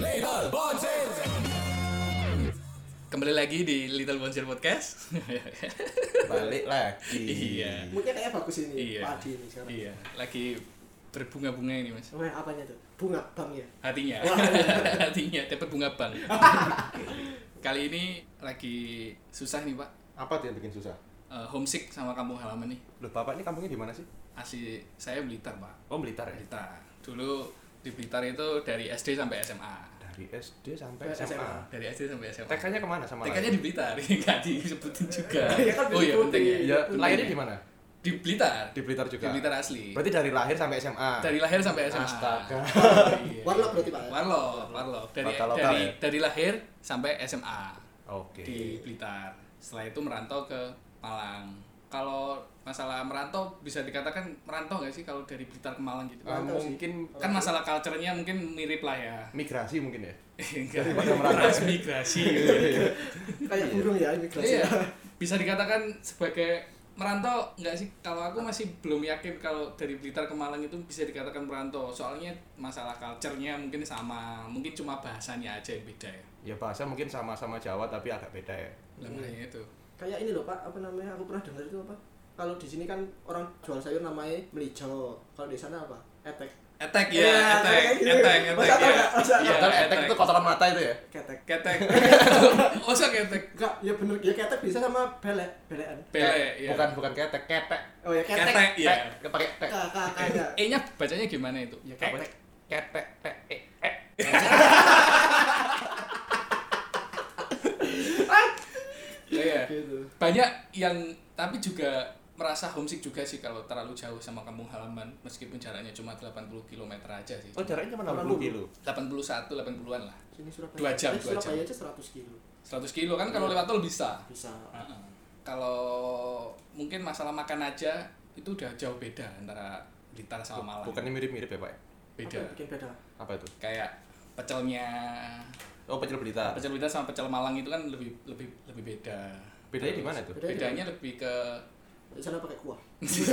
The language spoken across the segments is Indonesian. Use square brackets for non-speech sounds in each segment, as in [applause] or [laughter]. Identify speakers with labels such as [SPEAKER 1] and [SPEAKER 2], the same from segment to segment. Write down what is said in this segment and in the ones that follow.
[SPEAKER 1] Little Bonsir.
[SPEAKER 2] Kembali lagi di Little Bonsir Podcast.
[SPEAKER 3] balik lagi
[SPEAKER 2] iya.
[SPEAKER 4] Mungkin kayaknya bagus ini,
[SPEAKER 2] Iya.
[SPEAKER 4] padi ini sekarang.
[SPEAKER 2] Iya, lagi berbunga-bunga ini, Mas.
[SPEAKER 4] Nah, apanya tuh? Bunga, bang ya?
[SPEAKER 2] Hatinya. [laughs] Hatinya tapi bunga bang. Kali ini lagi susah nih, Pak.
[SPEAKER 3] apa tuh yang bikin susah
[SPEAKER 2] Eh, homesick sama kampung halaman nih.
[SPEAKER 3] loh bapak ini kampungnya di mana sih
[SPEAKER 2] Asli saya Blitar, Pak.
[SPEAKER 3] oh Blitar ya
[SPEAKER 2] Blitar. Dulu di Blitar itu dari SD sampai SMA.
[SPEAKER 3] dari SD sampai
[SPEAKER 4] Eh,
[SPEAKER 3] SMA,
[SPEAKER 4] SMA.
[SPEAKER 2] Dari SD sampai SMA.
[SPEAKER 3] TK-nya kemana sama
[SPEAKER 2] TK-nya di Blitar, [laughs] nggak disebutin juga.
[SPEAKER 4] Iya kan
[SPEAKER 2] oh iya
[SPEAKER 4] disebutin.
[SPEAKER 2] penting ya.
[SPEAKER 3] ya
[SPEAKER 2] Penting
[SPEAKER 3] lahirnya
[SPEAKER 2] ya.
[SPEAKER 3] di mana
[SPEAKER 2] Di Blitar.
[SPEAKER 3] di Blitar
[SPEAKER 2] Di
[SPEAKER 3] juga
[SPEAKER 2] Blitar asli.
[SPEAKER 3] berarti dari lahir sampai SMA
[SPEAKER 2] dari lahir sampai SMA.
[SPEAKER 3] Astaga.
[SPEAKER 2] Iya.
[SPEAKER 4] Warlock berarti, Pak, ya?
[SPEAKER 2] Warlock, warlock. Dari
[SPEAKER 3] Mata lokal,
[SPEAKER 2] dari
[SPEAKER 3] ya?
[SPEAKER 2] dari lahir sampai SMA
[SPEAKER 3] oke
[SPEAKER 2] di Blitar. Setelah itu merantau ke Malang. Kalau masalah merantau bisa dikatakan merantau nggak sih kalau dari Blitar ke Malang gitu?
[SPEAKER 3] Eh, mungkin
[SPEAKER 2] Kan masalah culture-nya mungkin mirip lah ya.
[SPEAKER 3] migrasi mungkin ya
[SPEAKER 2] Enggak.
[SPEAKER 3] Daripada merantau.
[SPEAKER 2] Transmigrasi.
[SPEAKER 3] Iya,
[SPEAKER 4] Kayak burung ya, imigrasi.
[SPEAKER 2] Iya. Bisa dikatakan sebagai merantau nggak sih? Kalau aku masih belum yakin kalau dari Blitar ke Malang itu bisa dikatakan merantau. Soalnya masalah culture-nya mungkin sama, mungkin cuma bahasanya aja yang beda ya.
[SPEAKER 3] ya bahasa mungkin sama-sama Jawa tapi agak beda ya
[SPEAKER 2] Lemahnya itu.
[SPEAKER 4] Kayak ini loh, Pak, apa namanya? Aku pernah dengar itu apa? Kalau di sini kan orang jual sayur namanya melijo. Kalau di sana apa? Etek.
[SPEAKER 2] Attack
[SPEAKER 4] Iya,
[SPEAKER 2] ya, attack,
[SPEAKER 4] kayak gitu.
[SPEAKER 2] attack,
[SPEAKER 4] Masa
[SPEAKER 2] attack
[SPEAKER 4] tau
[SPEAKER 2] ya.
[SPEAKER 4] nggak? Masa
[SPEAKER 2] Iya,
[SPEAKER 3] Padahal etek itu
[SPEAKER 2] attack.
[SPEAKER 3] kotoran mata itu ya
[SPEAKER 4] Ketek.
[SPEAKER 2] [laughs] Ketek. Oh, so ketek.
[SPEAKER 4] Enggak, ya bener. Ya ketek bisa sama belek, belean.
[SPEAKER 2] Pele, ya.
[SPEAKER 3] bukan bukan ketek ketek
[SPEAKER 4] Oh ya ketek.
[SPEAKER 2] Ketek,
[SPEAKER 3] Iya.
[SPEAKER 2] Eh, ya.
[SPEAKER 3] Tek, pakai tek
[SPEAKER 4] Kakaknya.
[SPEAKER 2] E-nya bacanya gimana itu?
[SPEAKER 3] ya ketek ketek tek e, e.
[SPEAKER 2] Iya.
[SPEAKER 4] Gitu.
[SPEAKER 2] banyak yang tapi juga merasa homesick juga sih kalau terlalu jauh sama kampung halaman meskipun jaraknya cuma 80 km aja sih.
[SPEAKER 3] oh jaraknya cuma 60
[SPEAKER 4] Orang
[SPEAKER 3] kilo
[SPEAKER 2] 81 80-an lah.
[SPEAKER 4] Sini Surabaya.
[SPEAKER 2] Dua jam,
[SPEAKER 4] Eh,
[SPEAKER 2] dua jam.
[SPEAKER 4] Surabaya aja 100 kilo.
[SPEAKER 2] 100 kilo kan
[SPEAKER 3] Iya.
[SPEAKER 2] kalau lewat tol bisa.
[SPEAKER 4] Bisa.
[SPEAKER 2] Heeh. Kalau mungkin masalah makan aja itu udah jauh beda antara Blitar sama Malang.
[SPEAKER 3] bukannya mirip-mirip ya pak
[SPEAKER 4] Apa
[SPEAKER 2] beda.
[SPEAKER 4] yang bikin beda?
[SPEAKER 3] apa itu
[SPEAKER 2] Kayak pecelnya
[SPEAKER 3] oh pecel Blitar
[SPEAKER 2] pecel Blitar sama pecel Malang itu kan lebih lebih lebih beda.
[SPEAKER 3] bedanya di mana itu
[SPEAKER 4] Bedanya di
[SPEAKER 2] Bedanya lebih ke
[SPEAKER 4] Di sana pakai kuah.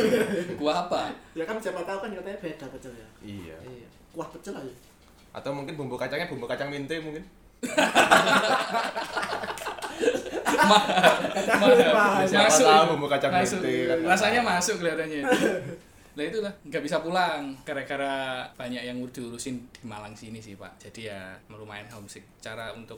[SPEAKER 2] [laughs] kuah apa?
[SPEAKER 4] Ya kan siapa tahu kan katanya beda pecel ya.
[SPEAKER 3] iya
[SPEAKER 4] Iya. Kuah pecel aja.
[SPEAKER 2] Iya,
[SPEAKER 3] Atau mungkin bumbu kacangnya bumbu kacang minte mungkin.
[SPEAKER 2] mahal mahal
[SPEAKER 4] Mahal.
[SPEAKER 3] Siapa
[SPEAKER 2] masuk
[SPEAKER 3] tahu bumbu kacang
[SPEAKER 2] masuk
[SPEAKER 3] mete kan.
[SPEAKER 2] rasanya masuk kelihatannya nah itulah nggak bisa pulang gara-gara banyak yang diurusin di Malang sini sih pak jadi ya lumayan homesick cara untuk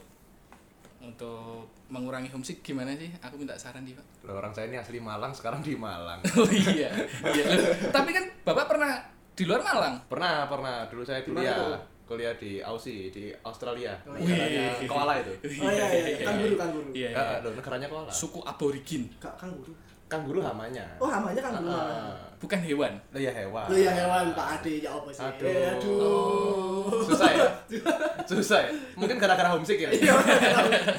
[SPEAKER 2] untuk mengurangi homesick gimana sih aku minta saran nih pak [laughs]
[SPEAKER 3] Loh, orang saya ini asli Malang sekarang di Malang.
[SPEAKER 2] oh iya iya Loh, tapi kan bapak pernah di luar Malang
[SPEAKER 3] [laughs] Pernah, pernah. Dulu saya
[SPEAKER 4] Di mana tuh?
[SPEAKER 3] kuliah kuliah di Aussie, di Australia.
[SPEAKER 4] Oh,
[SPEAKER 3] Negaranya
[SPEAKER 2] iya.
[SPEAKER 3] koala itu.
[SPEAKER 4] Oh iya [laughs] iya, kanguru kanguru.
[SPEAKER 2] iya,
[SPEAKER 3] Eh,
[SPEAKER 2] iya.
[SPEAKER 3] loh, negaranya koala.
[SPEAKER 2] suku aborigin
[SPEAKER 4] Kak kanguru.
[SPEAKER 3] Kangguru hamanya.
[SPEAKER 4] Oh, hamanya kanguru.
[SPEAKER 3] Ah,
[SPEAKER 2] bukan hewan
[SPEAKER 3] Loh ya hewan.
[SPEAKER 4] Lu ya hewan Pak Ade ya apa sih?
[SPEAKER 3] Aduh. Oh.
[SPEAKER 4] Eh, aduh.
[SPEAKER 3] Susah
[SPEAKER 4] [laughs]
[SPEAKER 3] ya? Susah ya? Mungkin gara-gara homesick ya?
[SPEAKER 4] Iya,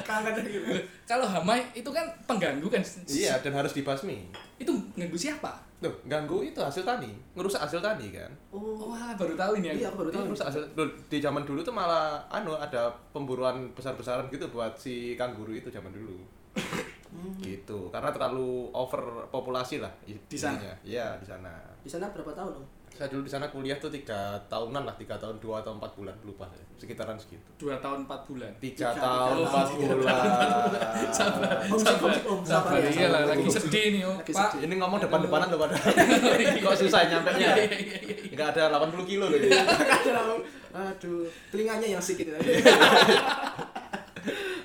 [SPEAKER 4] kangen gitu.
[SPEAKER 2] kalau hama itu kan pengganggu kan
[SPEAKER 3] iya, dan harus dibasmi.
[SPEAKER 2] itu mengganggu siapa
[SPEAKER 3] Loh, ganggu itu hasil tani. Ngerusak hasil tani kan?
[SPEAKER 4] Oh,
[SPEAKER 2] wah baru tahu ini
[SPEAKER 4] iya
[SPEAKER 2] aku.
[SPEAKER 4] aku baru tahu.
[SPEAKER 3] Terus asal- loh, di zaman dulu tuh malah anu ada pemburuan besar-besaran gitu buat si kanguru itu zaman dulu. gitu. Karena terlalu over populasi lah i-
[SPEAKER 2] Di sana?
[SPEAKER 3] ininya. Iya, di sana.
[SPEAKER 4] Di sana berapa tahun, [laughs] Om?
[SPEAKER 3] Saya dulu di sana kuliah tuh tiga tahunan lah, tiga tahun dua atau empat bulan lupa saya. Sekitaran segitu.
[SPEAKER 2] dua tahun empat bulan
[SPEAKER 3] Tiga,
[SPEAKER 4] Tiga
[SPEAKER 3] tahun
[SPEAKER 4] tahun,
[SPEAKER 3] empat
[SPEAKER 4] tiga
[SPEAKER 3] bulan. Ah,
[SPEAKER 2] sabar
[SPEAKER 4] Homesick, homesick, om.
[SPEAKER 2] sabar
[SPEAKER 4] Sabar ya,
[SPEAKER 2] iya lah
[SPEAKER 4] sabar.
[SPEAKER 2] lagi sedih nih oh
[SPEAKER 4] Lagi
[SPEAKER 2] pak
[SPEAKER 4] sedih.
[SPEAKER 3] Ini ngomong depan-depanan loh pada. [laughs] Kok susah nyampe nya? Enggak ada 80 kilo loh ini.
[SPEAKER 4] Aduh, Aduh, telinganya yang
[SPEAKER 3] [laughs]
[SPEAKER 4] sikit tadi.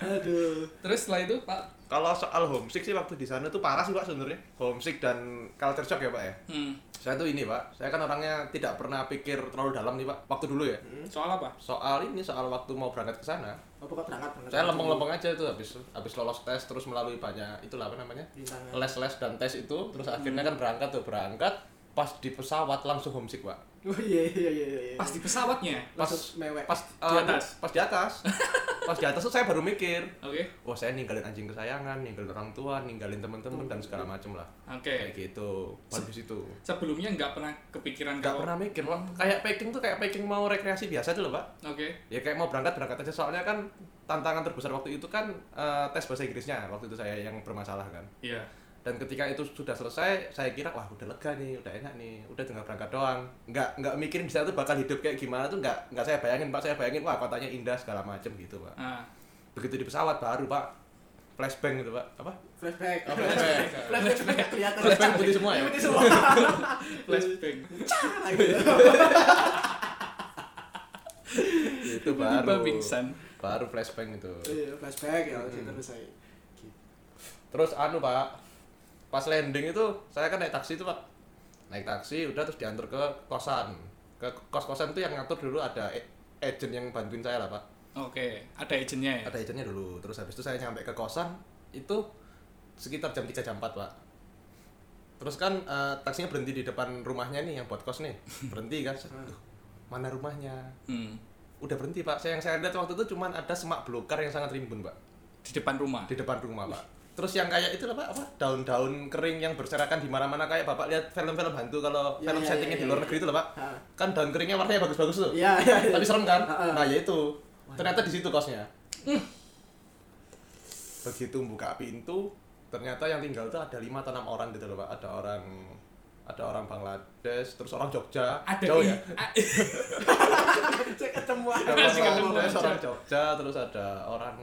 [SPEAKER 4] Aduh.
[SPEAKER 2] terus setelah itu pak
[SPEAKER 3] Kalau soal homesick sih waktu di sana tuh parah sih Pak sebenarnya. Homesick dan culture shock ya Pak ya.
[SPEAKER 2] hmm,
[SPEAKER 3] Saya tuh ini pak, saya kan orangnya tidak pernah pikir terlalu dalam nih pak, waktu dulu ya.
[SPEAKER 2] soal apa
[SPEAKER 3] Soal ini soal waktu mau berangkat ke sana,
[SPEAKER 4] Apa kok berangkat banget?
[SPEAKER 3] saya lempeng-lempeng aja itu habis habis lolos tes terus melalui banyak itulah apa namanya
[SPEAKER 2] Iya.
[SPEAKER 4] Rintangan.
[SPEAKER 3] les-les dan tes itu terus akhirnya
[SPEAKER 2] Hmm.
[SPEAKER 3] kan berangkat tuh berangkat pas di pesawat langsung homesick pak.
[SPEAKER 4] Oh iya iya iya iya.
[SPEAKER 2] pas di pesawatnya
[SPEAKER 3] Pas
[SPEAKER 4] Langsung mewek.
[SPEAKER 3] pas
[SPEAKER 2] Di
[SPEAKER 3] eh,
[SPEAKER 2] atas?
[SPEAKER 3] pas di atas, [laughs] pas di atas tuh saya baru mikir,
[SPEAKER 2] oke
[SPEAKER 3] wah saya ninggalin anjing kesayangan, ninggalin orang tua, ninggalin teman-teman dan segala macem lah.
[SPEAKER 2] Hmm. oke
[SPEAKER 3] Kayak gitu, habis itu.
[SPEAKER 2] sebelumnya nggak pernah kepikiran
[SPEAKER 3] Gak
[SPEAKER 2] kalau
[SPEAKER 3] pernah mikir, Pak. kayak packing tuh kayak packing mau rekreasi biasa aja loh pak.
[SPEAKER 2] oke
[SPEAKER 3] ya kayak mau berangkat berangkat aja soalnya kan tantangan terbesar waktu itu kan eh, tes bahasa Inggrisnya waktu itu saya yang bermasalah kan
[SPEAKER 2] iya
[SPEAKER 3] dan ketika itu sudah selesai saya kira wah udah lega nih udah enak nih udah tinggal berangkat doang nggak nggak mikirin di sana tuh bakal hidup kayak gimana tuh nggak nggak saya bayangin pak saya bayangin wah kotanya indah segala macem gitu pak
[SPEAKER 2] Ah,
[SPEAKER 3] begitu di pesawat baru pak flashbang gitu pak apa
[SPEAKER 4] flashback
[SPEAKER 3] Oh, flashback.
[SPEAKER 4] [laughs] flashback juga nggak kelihatan
[SPEAKER 3] flashbang putih semua ya
[SPEAKER 4] Putih
[SPEAKER 3] [laughs]
[SPEAKER 4] semua
[SPEAKER 2] flashback.
[SPEAKER 4] Cara gitu.
[SPEAKER 3] itu
[SPEAKER 2] Tiba-tiba
[SPEAKER 3] baru
[SPEAKER 2] pingsan.
[SPEAKER 3] baru flashbang gitu. itu
[SPEAKER 4] Iya, flashback ya
[SPEAKER 3] Hmm.
[SPEAKER 4] cerita selesai
[SPEAKER 3] terus anu pak pas landing itu saya kan naik taksi itu pak naik taksi udah terus diantar ke kosan ke kos kosan tuh yang ngatur dulu ada e- agent yang bantuin saya lah pak
[SPEAKER 2] Oke, ada agentnya ya.
[SPEAKER 3] ada agentnya dulu terus habis itu saya nyampe ke kosan itu sekitar jam 3 jam 4 pak terus kan eh, taksinya berhenti di depan rumahnya nih yang buat kos [laughs] nih berhenti kan Set, "Duh, mana rumahnya
[SPEAKER 2] Hmm.
[SPEAKER 3] udah berhenti pak saya yang saya lihat waktu itu cuman ada semak belukar yang sangat rimbun pak
[SPEAKER 2] Di depan rumah.
[SPEAKER 3] di depan rumah pak terus yang kayak itu apa apa daun-daun kering yang berserakan di mana-mana kayak bapak lihat film-film hantu kalau
[SPEAKER 4] Ya,
[SPEAKER 3] film
[SPEAKER 4] ya,
[SPEAKER 3] settingnya
[SPEAKER 4] ya,
[SPEAKER 3] di
[SPEAKER 4] ya,
[SPEAKER 3] luar
[SPEAKER 4] ya.
[SPEAKER 3] negeri itu loh pak
[SPEAKER 4] Ah.
[SPEAKER 3] kan daun keringnya warnanya bagus-bagus tuh
[SPEAKER 4] Iya, iya, iya.
[SPEAKER 3] tapi serem kan
[SPEAKER 4] Heeh.
[SPEAKER 3] nah ya itu ternyata di situ kosnya begitu buka pintu ternyata yang tinggal tuh ada lima atau enam orang gitu loh pak ada orang ada orang Bangladesh terus orang Jogja
[SPEAKER 2] Ada
[SPEAKER 3] jauh
[SPEAKER 2] i-
[SPEAKER 4] iya.
[SPEAKER 3] ya
[SPEAKER 2] a- [laughs]
[SPEAKER 4] Saya ketemu
[SPEAKER 3] ada
[SPEAKER 4] aja.
[SPEAKER 2] Masih
[SPEAKER 3] orang
[SPEAKER 2] ketemu
[SPEAKER 3] Bangladesh,
[SPEAKER 2] Jogja.
[SPEAKER 3] orang Jogja terus ada orang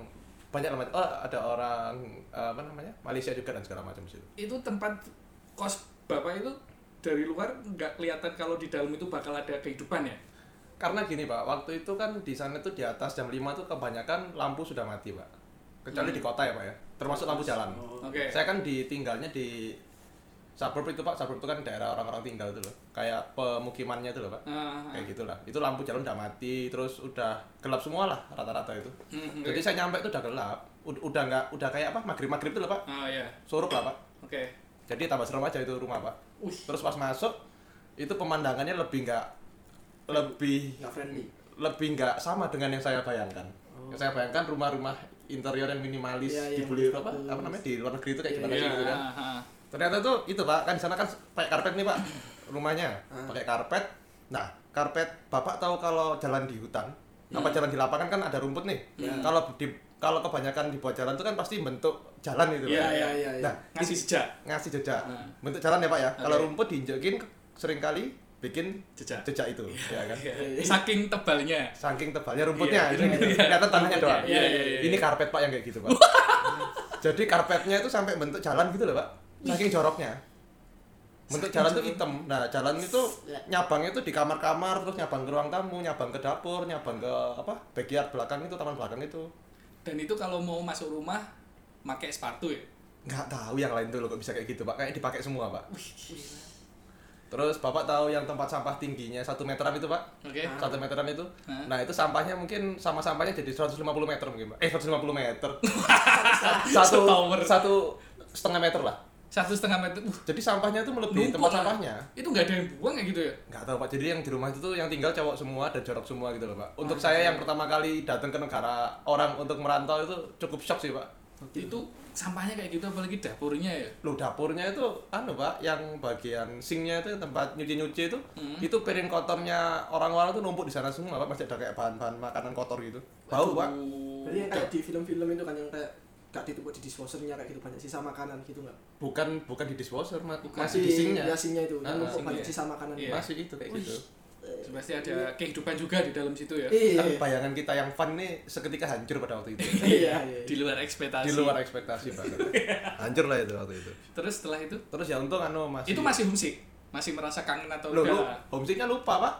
[SPEAKER 3] banyak lah oh, ada orang eh, apa namanya Malaysia juga dan segala macam di situ
[SPEAKER 2] itu tempat kos bapak itu dari luar nggak kelihatan kalau di dalam itu bakal ada kehidupan ya.
[SPEAKER 3] karena gini pak waktu itu kan di sana tuh di atas jam 5 tuh kebanyakan lampu sudah mati pak kecuali di kota ya pak ya termasuk lampu jalan
[SPEAKER 4] Oh.
[SPEAKER 2] Oke.
[SPEAKER 3] saya kan ditinggalnya di suburb itu pak suburb itu kan daerah orang-orang tinggal tuh loh kayak pemukimannya tuh loh pak
[SPEAKER 2] Ah, ah.
[SPEAKER 3] kayak gitulah itu lampu jalan udah mati terus udah gelap semua lah rata-rata itu
[SPEAKER 2] Mhm.
[SPEAKER 3] jadi saya nyampe itu udah gelap ud- udah nggak udah kayak apa maghrib maghrib tuh loh pak
[SPEAKER 2] Ah ya.
[SPEAKER 3] surup lah pak
[SPEAKER 2] Oke.
[SPEAKER 3] jadi tambah serem aja itu rumah pak
[SPEAKER 2] Wih.
[SPEAKER 3] terus pas masuk itu pemandangannya lebih nggak lebih
[SPEAKER 4] Nggak friendly.
[SPEAKER 3] lebih nggak sama dengan yang saya bayangkan yang saya bayangkan rumah-rumah interior yang minimalis
[SPEAKER 4] Oh. Iya,
[SPEAKER 3] di
[SPEAKER 4] yang
[SPEAKER 3] bule- apa
[SPEAKER 4] bagus.
[SPEAKER 3] apa namanya di luar negeri itu kayak
[SPEAKER 4] Iya,
[SPEAKER 3] gimana sih
[SPEAKER 2] Iya,
[SPEAKER 3] gitu kan
[SPEAKER 2] ah, ah.
[SPEAKER 3] ternyata tuh itu pak kan di sana kan pakai karpet nih pak rumahnya
[SPEAKER 4] Ah.
[SPEAKER 3] pakai karpet nah karpet bapak tahu kalau jalan di hutan apa jalan di lapangan kan ada rumput nih
[SPEAKER 4] Iya.
[SPEAKER 3] kalau di kalau kebanyakan dibuat jalan tuh kan pasti bentuk jalan gitu
[SPEAKER 2] Iya,
[SPEAKER 3] Pak.
[SPEAKER 4] iya, iya, iya.
[SPEAKER 3] nah
[SPEAKER 2] Ngasih jejak,
[SPEAKER 3] ngasih jejak
[SPEAKER 2] Nah.
[SPEAKER 3] bentuk jalan ya pak ya kalau
[SPEAKER 2] Oke.
[SPEAKER 3] rumput diinjekin seringkali bikin
[SPEAKER 2] jejak.
[SPEAKER 3] jejak itu ya kan
[SPEAKER 2] Iya. Saking tebalnya.
[SPEAKER 3] saking tebalnya
[SPEAKER 2] Iya,
[SPEAKER 3] rumputnya itu gitu.
[SPEAKER 2] iya.
[SPEAKER 3] kelihatan tanahnya
[SPEAKER 2] Rumputnya,
[SPEAKER 3] doang
[SPEAKER 2] iya, iya, iya.
[SPEAKER 3] ini karpet pak yang kayak gitu pak jadi karpetnya itu sampai bentuk jalan gitu loh pak saking joroknya bentuk
[SPEAKER 4] Saking
[SPEAKER 3] jalan tuh
[SPEAKER 4] jorok.
[SPEAKER 3] hitam nah jalan itu
[SPEAKER 4] Ya.
[SPEAKER 3] nyabangnya tuh di kamar-kamar terus nyabang ke ruang tamu nyabang ke dapur nyabang ke apa backyard belakang itu taman belakang itu
[SPEAKER 2] Dan itu kalau mau masuk rumah pakai sepatu ya.
[SPEAKER 3] nggak tahu yang lain tuh loh kok bisa kayak gitu pak kayak dipakai semua pak terus bapak tahu yang tempat sampah tingginya satu meteran itu pak
[SPEAKER 2] Oke.
[SPEAKER 3] Eh, satu meteran itu
[SPEAKER 2] Hah?
[SPEAKER 3] nah itu sampahnya mungkin sama sampahnya jadi 150 meter mungkin Pak. eh 150 meter satu
[SPEAKER 2] Setower.
[SPEAKER 3] satu setengah meter lah
[SPEAKER 2] Satu setengah meter. Uh,
[SPEAKER 3] jadi sampahnya itu melebihi
[SPEAKER 2] Numpuk
[SPEAKER 3] tempat
[SPEAKER 2] lah.
[SPEAKER 3] sampahnya
[SPEAKER 2] itu nggak ada yang buang ya gitu ya.
[SPEAKER 3] nggak tahu pak jadi yang di rumah itu tuh yang tinggal cowok semua dan jorok semua gitu loh pak untuk saya yang pertama kali datang ke negara orang untuk merantau itu cukup shock sih pak
[SPEAKER 2] Itu sampahnya kayak gitu apalagi dapurnya ya.
[SPEAKER 3] lu dapurnya itu anu pak yang bagian sinknya itu tempat nyuci nyuci itu
[SPEAKER 2] Hmm.
[SPEAKER 3] itu piring kotornya orang-orang tuh numpuk di sana semua pak masih ada kayak bahan-bahan makanan kotor gitu bau pak
[SPEAKER 2] Uh,
[SPEAKER 4] Jadi yang kayak di film-film itu kan yang kayak gak ditumpuk di disposernya kayak gitu banyak sisa makanan gitu nggak?
[SPEAKER 3] bukan bukan di dishwasher ma-
[SPEAKER 2] Bukan.
[SPEAKER 3] masih di sinknya
[SPEAKER 4] Iya, sinknya itu.
[SPEAKER 3] Ah,
[SPEAKER 4] Yang numpuk
[SPEAKER 2] sinknya.
[SPEAKER 4] banyak sisa makanan.
[SPEAKER 2] Iya.
[SPEAKER 3] masih itu kayak gitu
[SPEAKER 2] Pasti ada kehidupan juga di dalam situ ya.
[SPEAKER 4] Iya.
[SPEAKER 3] kan bayangan kita yang fun nih seketika hancur pada waktu itu
[SPEAKER 2] [laughs]
[SPEAKER 4] Iya, iya.
[SPEAKER 2] Di luar ekspektasi.
[SPEAKER 3] di luar ekspektasi
[SPEAKER 2] [laughs]
[SPEAKER 3] banget hancur lah itu waktu itu
[SPEAKER 2] Terus setelah itu,
[SPEAKER 3] terus ya untung anu masih
[SPEAKER 2] itu masih homesick, masih merasa kangen atau
[SPEAKER 3] lu, lu
[SPEAKER 2] udah?
[SPEAKER 3] homesicknya lupa pak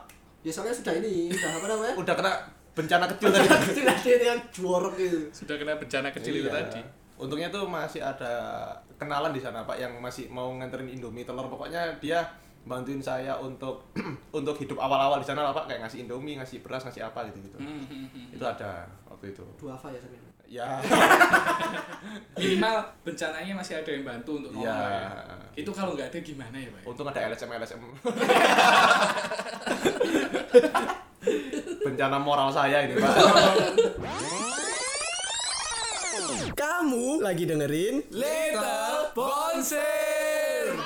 [SPEAKER 4] Ya soalnya sudah ini, sudah apa namanya?
[SPEAKER 3] udah kena bencana kecil
[SPEAKER 2] [laughs]
[SPEAKER 3] tadi
[SPEAKER 4] Kecil ada yang jorok gitu.
[SPEAKER 2] Sudah kena bencana kecil itu
[SPEAKER 3] Iya.
[SPEAKER 2] tadi.
[SPEAKER 3] Untungnya tuh masih ada kenalan di sana Pak yang masih mau nganterin Indomie telur pokoknya dia bantuin saya untuk [clears throat] untuk hidup awal-awal di sana lah Pak kayak ngasih Indomie, ngasih beras, ngasih apa gitu gitu.
[SPEAKER 2] Hmm, hmm, hmm.
[SPEAKER 3] Itu ada waktu itu.
[SPEAKER 4] Dua apa ya sampe.
[SPEAKER 3] Ya.
[SPEAKER 2] Minimal bencananya masih ada yang bantu
[SPEAKER 3] [laughs]
[SPEAKER 2] untuk ngomong
[SPEAKER 3] Iya.
[SPEAKER 2] ya. Itu kalau nggak ada gimana ya, Pak?
[SPEAKER 3] Untung ada LSM LSM. [laughs] Bencana moral saya ini
[SPEAKER 2] [laughs]
[SPEAKER 3] Pak.
[SPEAKER 1] Kamu lagi dengerin
[SPEAKER 2] Little Bonser.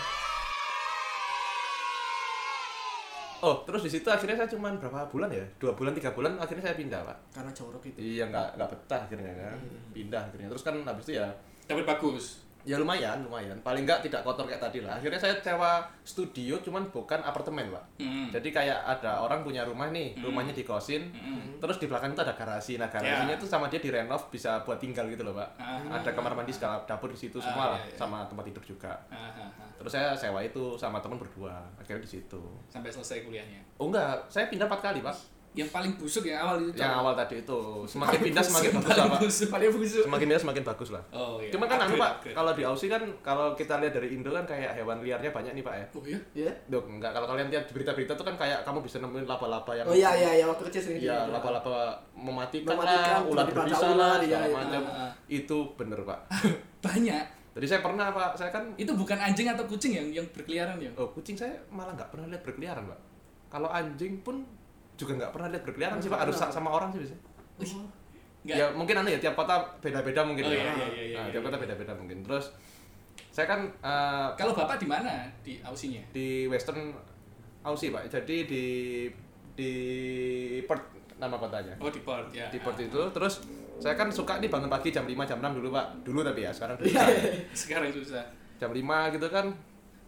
[SPEAKER 3] Oh terus di situ akhirnya saya cuman berapa bulan ya? Dua bulan tiga bulan akhirnya saya pindah Pak.
[SPEAKER 4] Karena jorok itu.
[SPEAKER 2] Hmm.
[SPEAKER 3] Iya nggak nggak betah akhirnya kan. Pindah akhirnya. Terus kan habis itu ya
[SPEAKER 2] Dapat bagus.
[SPEAKER 3] ya lumayan lumayan paling nggak tidak kotor kayak tadi lah akhirnya saya sewa studio cuman bukan apartemen pak
[SPEAKER 2] Hmm.
[SPEAKER 3] jadi kayak ada orang punya rumah nih rumahnya dikosin
[SPEAKER 2] Hmm.
[SPEAKER 3] terus di belakang itu ada garasi nah garasinya
[SPEAKER 2] Ya.
[SPEAKER 3] itu sama dia direnov bisa buat tinggal gitu loh pak
[SPEAKER 2] Ah.
[SPEAKER 3] ada kamar mandi segala dapur di situ
[SPEAKER 2] Ah,
[SPEAKER 3] semua lah
[SPEAKER 2] iya, iya.
[SPEAKER 3] sama tempat tidur juga
[SPEAKER 2] Ah, ah, ah.
[SPEAKER 3] terus saya sewa itu sama teman berdua akhirnya di situ
[SPEAKER 2] sampai selesai kuliahnya.
[SPEAKER 3] oh enggak saya pindah empat kali pak
[SPEAKER 2] Yang paling busuk yang awal itu.
[SPEAKER 3] yang
[SPEAKER 2] Cok.
[SPEAKER 3] awal tadi itu semakin pindah
[SPEAKER 2] Busuk,
[SPEAKER 3] semakin bagus lah
[SPEAKER 2] paling
[SPEAKER 3] pak
[SPEAKER 2] busuk, paling busuk.
[SPEAKER 3] semakin pindah semakin bagus lah
[SPEAKER 2] Oh iya.
[SPEAKER 3] Cuma kan anu
[SPEAKER 2] Upgrade,
[SPEAKER 3] pak,
[SPEAKER 2] upgrade.
[SPEAKER 3] kalau di Aussie kan kalau kita lihat dari Indo kan kayak hewan liarnya banyak nih pak ya.
[SPEAKER 2] Oh iya.
[SPEAKER 4] Iya.
[SPEAKER 3] Duh, enggak kalau kalian lihat di berita-berita tuh kan kayak kamu bisa nemuin laba-laba yang
[SPEAKER 4] Oh iya iya iya waktu kecil sering.
[SPEAKER 3] Iya,
[SPEAKER 4] gitu.
[SPEAKER 3] laba-laba mematikan,
[SPEAKER 4] Mematikan,
[SPEAKER 3] lah, ular
[SPEAKER 4] tiba-tiba ada
[SPEAKER 3] berbisa
[SPEAKER 4] ular,
[SPEAKER 3] lah,
[SPEAKER 4] iya,
[SPEAKER 3] segala
[SPEAKER 4] iya.
[SPEAKER 3] macam.
[SPEAKER 2] Ah, ah.
[SPEAKER 3] Itu bener pak.
[SPEAKER 2] Banyak.
[SPEAKER 3] Jadi saya pernah pak, saya kan,
[SPEAKER 2] Itu bukan anjing atau kucing yang yang berkeliaran ya?
[SPEAKER 3] oh kucing saya malah nggak pernah lihat berkeliaran pak. Kalau anjing pun juga nggak pernah lihat berkeliaran sih pak, harus sa- sama orang sih biasanya.
[SPEAKER 2] Enggak.
[SPEAKER 3] Ya mungkin aneh ya tiap kota beda-beda
[SPEAKER 2] Oh,
[SPEAKER 3] mungkin.
[SPEAKER 2] iya,
[SPEAKER 3] ya.
[SPEAKER 2] iya, iya, iya,
[SPEAKER 3] Nah,
[SPEAKER 2] iya,
[SPEAKER 3] tiap kota
[SPEAKER 2] iya.
[SPEAKER 3] beda-beda mungkin. Terus saya kan eh,
[SPEAKER 2] Kalau bapak di mana di Ausinya?
[SPEAKER 3] di Western Aussie pak jadi di di Perth nama kotanya
[SPEAKER 2] Oh di Port ya.
[SPEAKER 3] di Perth itu terus saya kan suka nih bangun pagi jam 5 jam 6 dulu pak dulu tapi ya sekarang
[SPEAKER 4] Iya.
[SPEAKER 3] dulu
[SPEAKER 2] Sekarang susah.
[SPEAKER 3] jam 5 gitu kan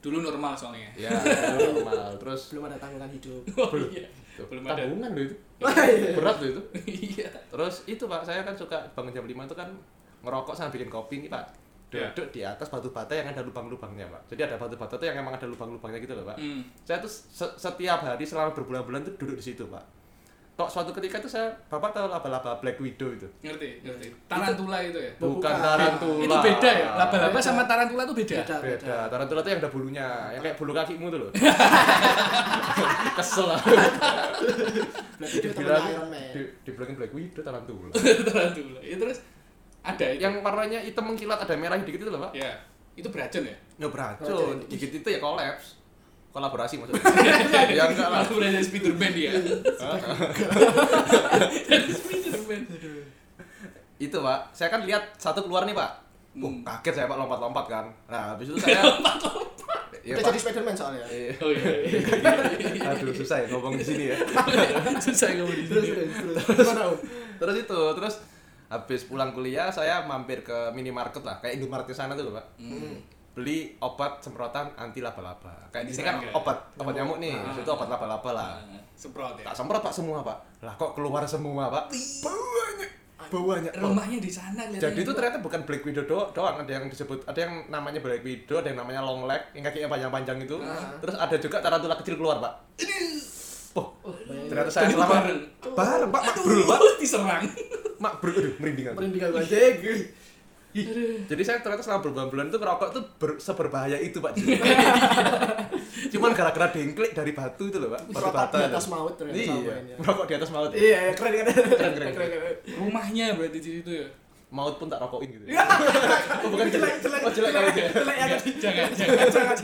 [SPEAKER 2] Dulu normal soalnya.
[SPEAKER 4] [laughs]
[SPEAKER 3] ya normal terus
[SPEAKER 4] Belum ada tanggungan hidup.
[SPEAKER 2] [laughs] Oh iya.
[SPEAKER 3] tuh,
[SPEAKER 2] Belum ada.
[SPEAKER 3] tabungan
[SPEAKER 4] [laughs]
[SPEAKER 3] loh itu
[SPEAKER 4] Iya.
[SPEAKER 3] berat loh itu
[SPEAKER 2] Iya.
[SPEAKER 3] terus itu pak saya kan suka bangun jam 5 itu kan ngerokok sama bikin kopi nih pak
[SPEAKER 2] Iya.
[SPEAKER 3] duduk di atas batu bata yang ada lubang-lubangnya pak jadi ada batu bata tuh yang emang ada lubang-lubangnya gitu loh pak
[SPEAKER 2] Hmm.
[SPEAKER 3] saya tuh se- setiap hari selama berbulan-bulan tuh duduk di situ pak Tok suatu ketika tuh saya bapak tahu laba-laba black widow itu
[SPEAKER 2] Ngerti, ngerti. Tarantula itu ya.
[SPEAKER 4] Bukan.
[SPEAKER 3] bukan tarantula
[SPEAKER 2] Itu beda ya. Laba-laba sama tarantula itu beda.
[SPEAKER 4] Beda beda.
[SPEAKER 3] beda tarantula tuh yang ada bulunya yang kayak bulu kakimu tuh
[SPEAKER 4] [laughs]
[SPEAKER 3] loh kesel lah
[SPEAKER 4] Berarti itu temen
[SPEAKER 3] dibilang
[SPEAKER 4] Iron Man.
[SPEAKER 3] di, dibilangin black widow tarantula Ya.
[SPEAKER 2] tarantula. Ya terus ada itu.
[SPEAKER 3] yang warnanya hitam mengkilat ada merah dikit itu loh pak
[SPEAKER 2] ya. Itu beracun ya?
[SPEAKER 3] ya
[SPEAKER 4] Beracun.
[SPEAKER 3] beracun dikit itu ya kolaps kolaborasi maksudnya
[SPEAKER 4] [laughs]
[SPEAKER 2] [laughs]
[SPEAKER 3] [laughs] ya enggak lah
[SPEAKER 2] Aku berada Spiderman dia. Spiderman.
[SPEAKER 3] itu pak saya kan lihat satu keluar nih pak Wah,
[SPEAKER 2] Hmm.
[SPEAKER 3] kaget saya pak lompat-lompat kan nah habis itu
[SPEAKER 4] [laughs]
[SPEAKER 3] saya ya,
[SPEAKER 4] Udah
[SPEAKER 3] pak.
[SPEAKER 4] jadi Spiderman soalnya.
[SPEAKER 3] Eh,
[SPEAKER 2] Oh iya. iya, iya.
[SPEAKER 3] aduh susah ya ngomong di
[SPEAKER 4] [laughs]
[SPEAKER 3] sini ya
[SPEAKER 2] Susah kamu di
[SPEAKER 4] Terus
[SPEAKER 2] sini.
[SPEAKER 4] terus terus. Gimana, Om?
[SPEAKER 3] terus itu terus habis pulang kuliah saya mampir ke minimarket lah kayak Indomaret di sana tuh loh pak beli obat semprotan anti laba-laba kayak di sini kan
[SPEAKER 2] Diserang, ya?
[SPEAKER 3] obat obat nyamuk nih habis itu obat laba-laba lah
[SPEAKER 2] Ah, Semprot ya.
[SPEAKER 3] tak semprot pak semua pak lah kok keluar semua pak banyak banyak Pak.
[SPEAKER 2] Rumahnya di sana kelihatannya.
[SPEAKER 3] Jadi itu ternyata bukan Black Widow do- doang, ada yang disebut ada yang namanya Black Widow, ada yang namanya long leg, yang kakinya panjang-panjang itu. Terus ada juga tarantula kecil keluar, Pak. Poh,
[SPEAKER 4] Iya.
[SPEAKER 3] ternyata saya
[SPEAKER 2] Itu
[SPEAKER 3] selama
[SPEAKER 2] bareng.
[SPEAKER 3] bareng, Pak,
[SPEAKER 2] Aduh, [laughs]
[SPEAKER 3] makbrul, Pak.
[SPEAKER 2] diserang.
[SPEAKER 3] Makbrul, aduh, merinding aku.
[SPEAKER 4] Merinding aku anjing.
[SPEAKER 3] Ih, Jadi saya ternyata selama berbulan-bulan itu ngerokok tuh ber- seberbahaya itu, Pak. Cuman gara-gara dengklik dari batu itu loh, Pak. Batu
[SPEAKER 4] Merokok
[SPEAKER 3] bata
[SPEAKER 4] di
[SPEAKER 3] itu.
[SPEAKER 4] atas maut ya, ternyata
[SPEAKER 3] Iya,
[SPEAKER 4] samaannya.
[SPEAKER 3] merokok di atas maut.
[SPEAKER 4] Iya, iya, keren keren.
[SPEAKER 3] Keren, keren, keren.
[SPEAKER 2] Rumahnya berarti di situ ya.
[SPEAKER 3] Maut pun tak rokokin gitu. Oh, bukan
[SPEAKER 4] Jelek jelek.
[SPEAKER 3] Oh, jelek. jelek.
[SPEAKER 4] Jelek ya tadi.
[SPEAKER 2] Jangan, jangan, jangan, jangan, jangan,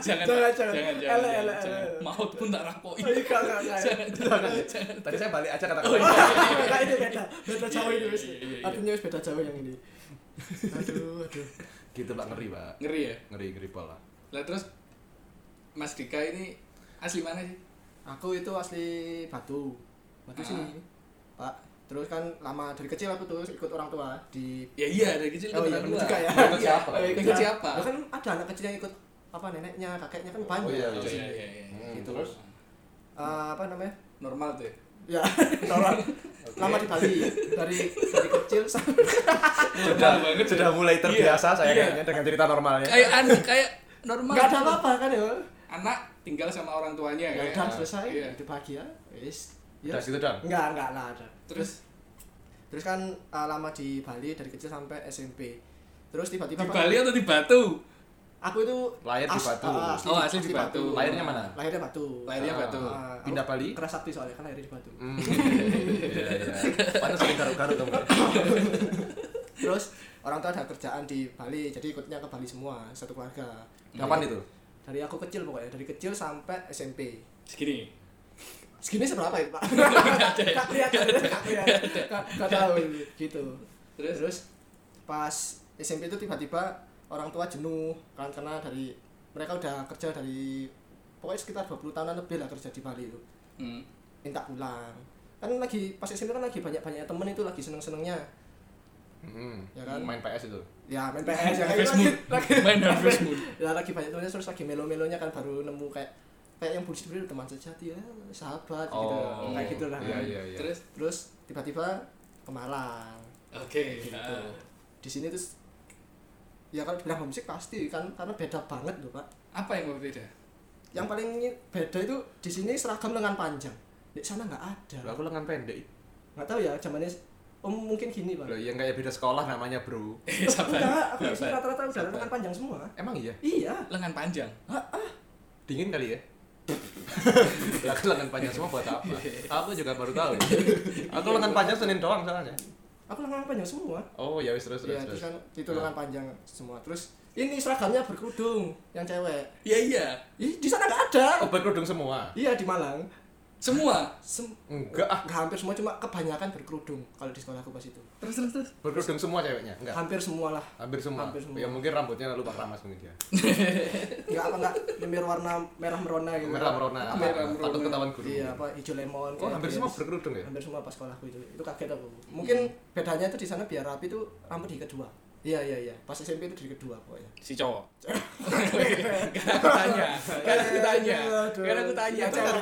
[SPEAKER 2] jangan,
[SPEAKER 4] jangan, jangan.
[SPEAKER 2] jangan,
[SPEAKER 4] Ele, ele,
[SPEAKER 2] jangan, jangan.
[SPEAKER 4] ele.
[SPEAKER 2] Maut pun tak rakoin.
[SPEAKER 4] Iya, kagak, kagak.
[SPEAKER 2] Jangan, jangan, jangan.
[SPEAKER 3] Tadi saya balik aja
[SPEAKER 2] Oh,
[SPEAKER 3] kata-kata.
[SPEAKER 2] iya.
[SPEAKER 4] Nah, ini beda, beda jauh ini wis.
[SPEAKER 2] Iya, iya, iya.
[SPEAKER 4] Artinya wis beda jauh yang ini. Aduh, aduh.
[SPEAKER 3] Gitu, Pak, ngeri, Pak.
[SPEAKER 2] Ngeri ya.
[SPEAKER 3] ngeri ngeri pol lah
[SPEAKER 2] Lah terus Mas Dika ini asli mana sih?
[SPEAKER 4] Aku itu asli Batu. Batu
[SPEAKER 2] Ah.
[SPEAKER 4] sini. Pak, terus kan lama dari kecil aku terus ikut orang tua di
[SPEAKER 2] Ya iya dari kecil
[SPEAKER 4] Oh
[SPEAKER 2] kebetulan
[SPEAKER 4] iya, bener
[SPEAKER 2] gua.
[SPEAKER 4] juga ya.
[SPEAKER 3] Ikut siapa?
[SPEAKER 4] Iya,
[SPEAKER 2] Ikut siapa?
[SPEAKER 4] Lah kan ada anak kecil yang ikut apa neneknya, kakeknya kan banyak.
[SPEAKER 3] Oh iya,
[SPEAKER 2] Oh,
[SPEAKER 4] di
[SPEAKER 2] iya,
[SPEAKER 4] sini.
[SPEAKER 2] iya, iya.
[SPEAKER 4] Gitu.
[SPEAKER 3] terus
[SPEAKER 4] Eh, apa namanya?
[SPEAKER 2] Normal tuh. ya?
[SPEAKER 4] Ya, [laughs] orang lama di Bali dari dari kecil sampai
[SPEAKER 2] Normal banget.
[SPEAKER 3] sudah mulai terbiasa saya kayaknya dengan cerita ya. normalnya
[SPEAKER 2] Kayak anu kayak normal.
[SPEAKER 4] nggak ada apa-apa kan ya.
[SPEAKER 2] Anak tinggal sama orang tuanya
[SPEAKER 4] Ya
[SPEAKER 2] kayak.
[SPEAKER 4] udah selesai,
[SPEAKER 2] Iya.
[SPEAKER 4] hidup bahagia. Wis. Ya.
[SPEAKER 3] udah gitu dong
[SPEAKER 4] Enggak, enggak lah ada.
[SPEAKER 2] Terus
[SPEAKER 4] Terus kan eh, lama di Bali dari kecil sampai SMP. Terus tiba-tiba
[SPEAKER 2] di Bali atau di Batu?
[SPEAKER 4] aku itu
[SPEAKER 3] Lahir di
[SPEAKER 4] as-
[SPEAKER 3] Batu.
[SPEAKER 4] ah,
[SPEAKER 2] Oh, asli di Batu.
[SPEAKER 3] Lahirnya mana?
[SPEAKER 4] Lahirnya Batu.
[SPEAKER 2] Lahirnya
[SPEAKER 3] Ah,
[SPEAKER 2] Batu.
[SPEAKER 4] Ah, aku
[SPEAKER 3] pindah Bali
[SPEAKER 4] Keras sakti soalnya kan lahirnya di Batu.
[SPEAKER 3] Hmm, iya iya pantas sering garuk-garuk kamu
[SPEAKER 4] Terus orang tua ada kerjaan di Bali, jadi ikutnya ke Bali semua, satu keluarga.
[SPEAKER 3] kapan itu
[SPEAKER 4] Dari aku kecil pokoknya, dari kecil sampai SMP. [laughs]
[SPEAKER 2] Segini.
[SPEAKER 4] Segini seberapa ya, Pak? [laughs] Kak kelihatan, kak kelihatan. Kak- Kak tahu gitu.
[SPEAKER 2] Terus?
[SPEAKER 4] Terus pas SMP itu tiba-tiba orang tua jenuh kan karena dari mereka udah kerja dari pokoknya sekitar 20 tahunan lebih lah kerja di Bali itu.
[SPEAKER 2] Hmm.
[SPEAKER 4] minta pulang kan lagi pas SMP kan lagi banyak banyak temen itu lagi seneng senengnya
[SPEAKER 3] Hmm.
[SPEAKER 4] Ya kan?
[SPEAKER 3] Main PS itu.
[SPEAKER 4] ya main PS ya kan
[SPEAKER 2] Harvest
[SPEAKER 4] [laughs] lagi,
[SPEAKER 2] Moon. Main Harvest Moon.
[SPEAKER 4] ya, lagi banyak tulisnya terus lagi melo-melonya kan baru nemu kayak kayak yang bullshit dulu teman sejati ya sahabat gitu
[SPEAKER 3] Oh,
[SPEAKER 4] kayak gitu lah
[SPEAKER 3] Iya,
[SPEAKER 4] kan.
[SPEAKER 3] iya, iya.
[SPEAKER 2] Terus
[SPEAKER 4] terus tiba-tiba ke Malang
[SPEAKER 2] oke.
[SPEAKER 4] gitu
[SPEAKER 2] nah,
[SPEAKER 4] di sini terus ya kalau bilang homesick pasti kan karena beda banget loh pak
[SPEAKER 2] apa yang [laughs] berbeda?
[SPEAKER 4] yang paling beda itu di sini seragam lengan panjang di sana nggak ada
[SPEAKER 3] Lah, aku lengan pendek.
[SPEAKER 4] nggak tahu ya zamannya om mungkin gini pak
[SPEAKER 3] Lah yang kayak beda sekolah namanya, Bro.
[SPEAKER 2] Eh, sabar.
[SPEAKER 4] enggak aku di sini
[SPEAKER 2] Sabar.
[SPEAKER 4] rata-rata udah
[SPEAKER 2] Sabar.
[SPEAKER 4] lengan panjang semua
[SPEAKER 3] Emang iya?
[SPEAKER 4] iya
[SPEAKER 2] lengan panjang.
[SPEAKER 3] Dingin [laughs] kali ya? lah aku lengan panjang semua buat [laughs] apa? Aku juga baru tahu. Aku lengan panjang Senin doang soalnya.
[SPEAKER 4] aku lengan panjang semua
[SPEAKER 3] Oh, ya wis terus
[SPEAKER 4] Iya,
[SPEAKER 3] terus. terus.
[SPEAKER 4] terus kan itu
[SPEAKER 3] Nah.
[SPEAKER 4] lengan panjang semua. Terus ini seragamnya berkerudung yang cewek.
[SPEAKER 2] Iya iya.
[SPEAKER 4] Ih, di sana nggak ada.
[SPEAKER 3] Oh, berkerudung semua.
[SPEAKER 4] Iya di Malang.
[SPEAKER 2] Semua.
[SPEAKER 4] Sem-
[SPEAKER 3] Enggak ah,
[SPEAKER 4] nggak hampir semua cuma kebanyakan berkerudung kalau di sekolahku pas itu.
[SPEAKER 2] Terus terus terus.
[SPEAKER 3] berkerudung semua ceweknya. Enggak.
[SPEAKER 4] Hampir semua lah.
[SPEAKER 3] Hampir semua.
[SPEAKER 4] Hampir semua.
[SPEAKER 3] Ya mungkin rambutnya lupa keramas mungkin dia.
[SPEAKER 4] Enggak apa enggak nyemir warna merah merona gitu.
[SPEAKER 3] Merah merona.
[SPEAKER 4] Apa,
[SPEAKER 2] Merah merona.
[SPEAKER 3] Takut ketahuan guru.
[SPEAKER 4] Iya, apa hijau lemon.
[SPEAKER 3] Oh,
[SPEAKER 4] kayak
[SPEAKER 3] hampir
[SPEAKER 4] gitu.
[SPEAKER 3] semua berkerudung ya? Iya.
[SPEAKER 4] Hampir semua pas sekolahku itu. Itu kaget aku. Mungkin bedanya itu di sana biar rapi itu rambut di kedua. Iya, iya, iya. Pas SMP itu di kedua pokoknya.
[SPEAKER 2] Si cowok. Karena aku tanya. Karena Kan aku tanya.
[SPEAKER 4] Aduh.
[SPEAKER 2] Karena aku tanya.
[SPEAKER 4] Iya,
[SPEAKER 2] Lah,
[SPEAKER 4] benar,
[SPEAKER 2] iya,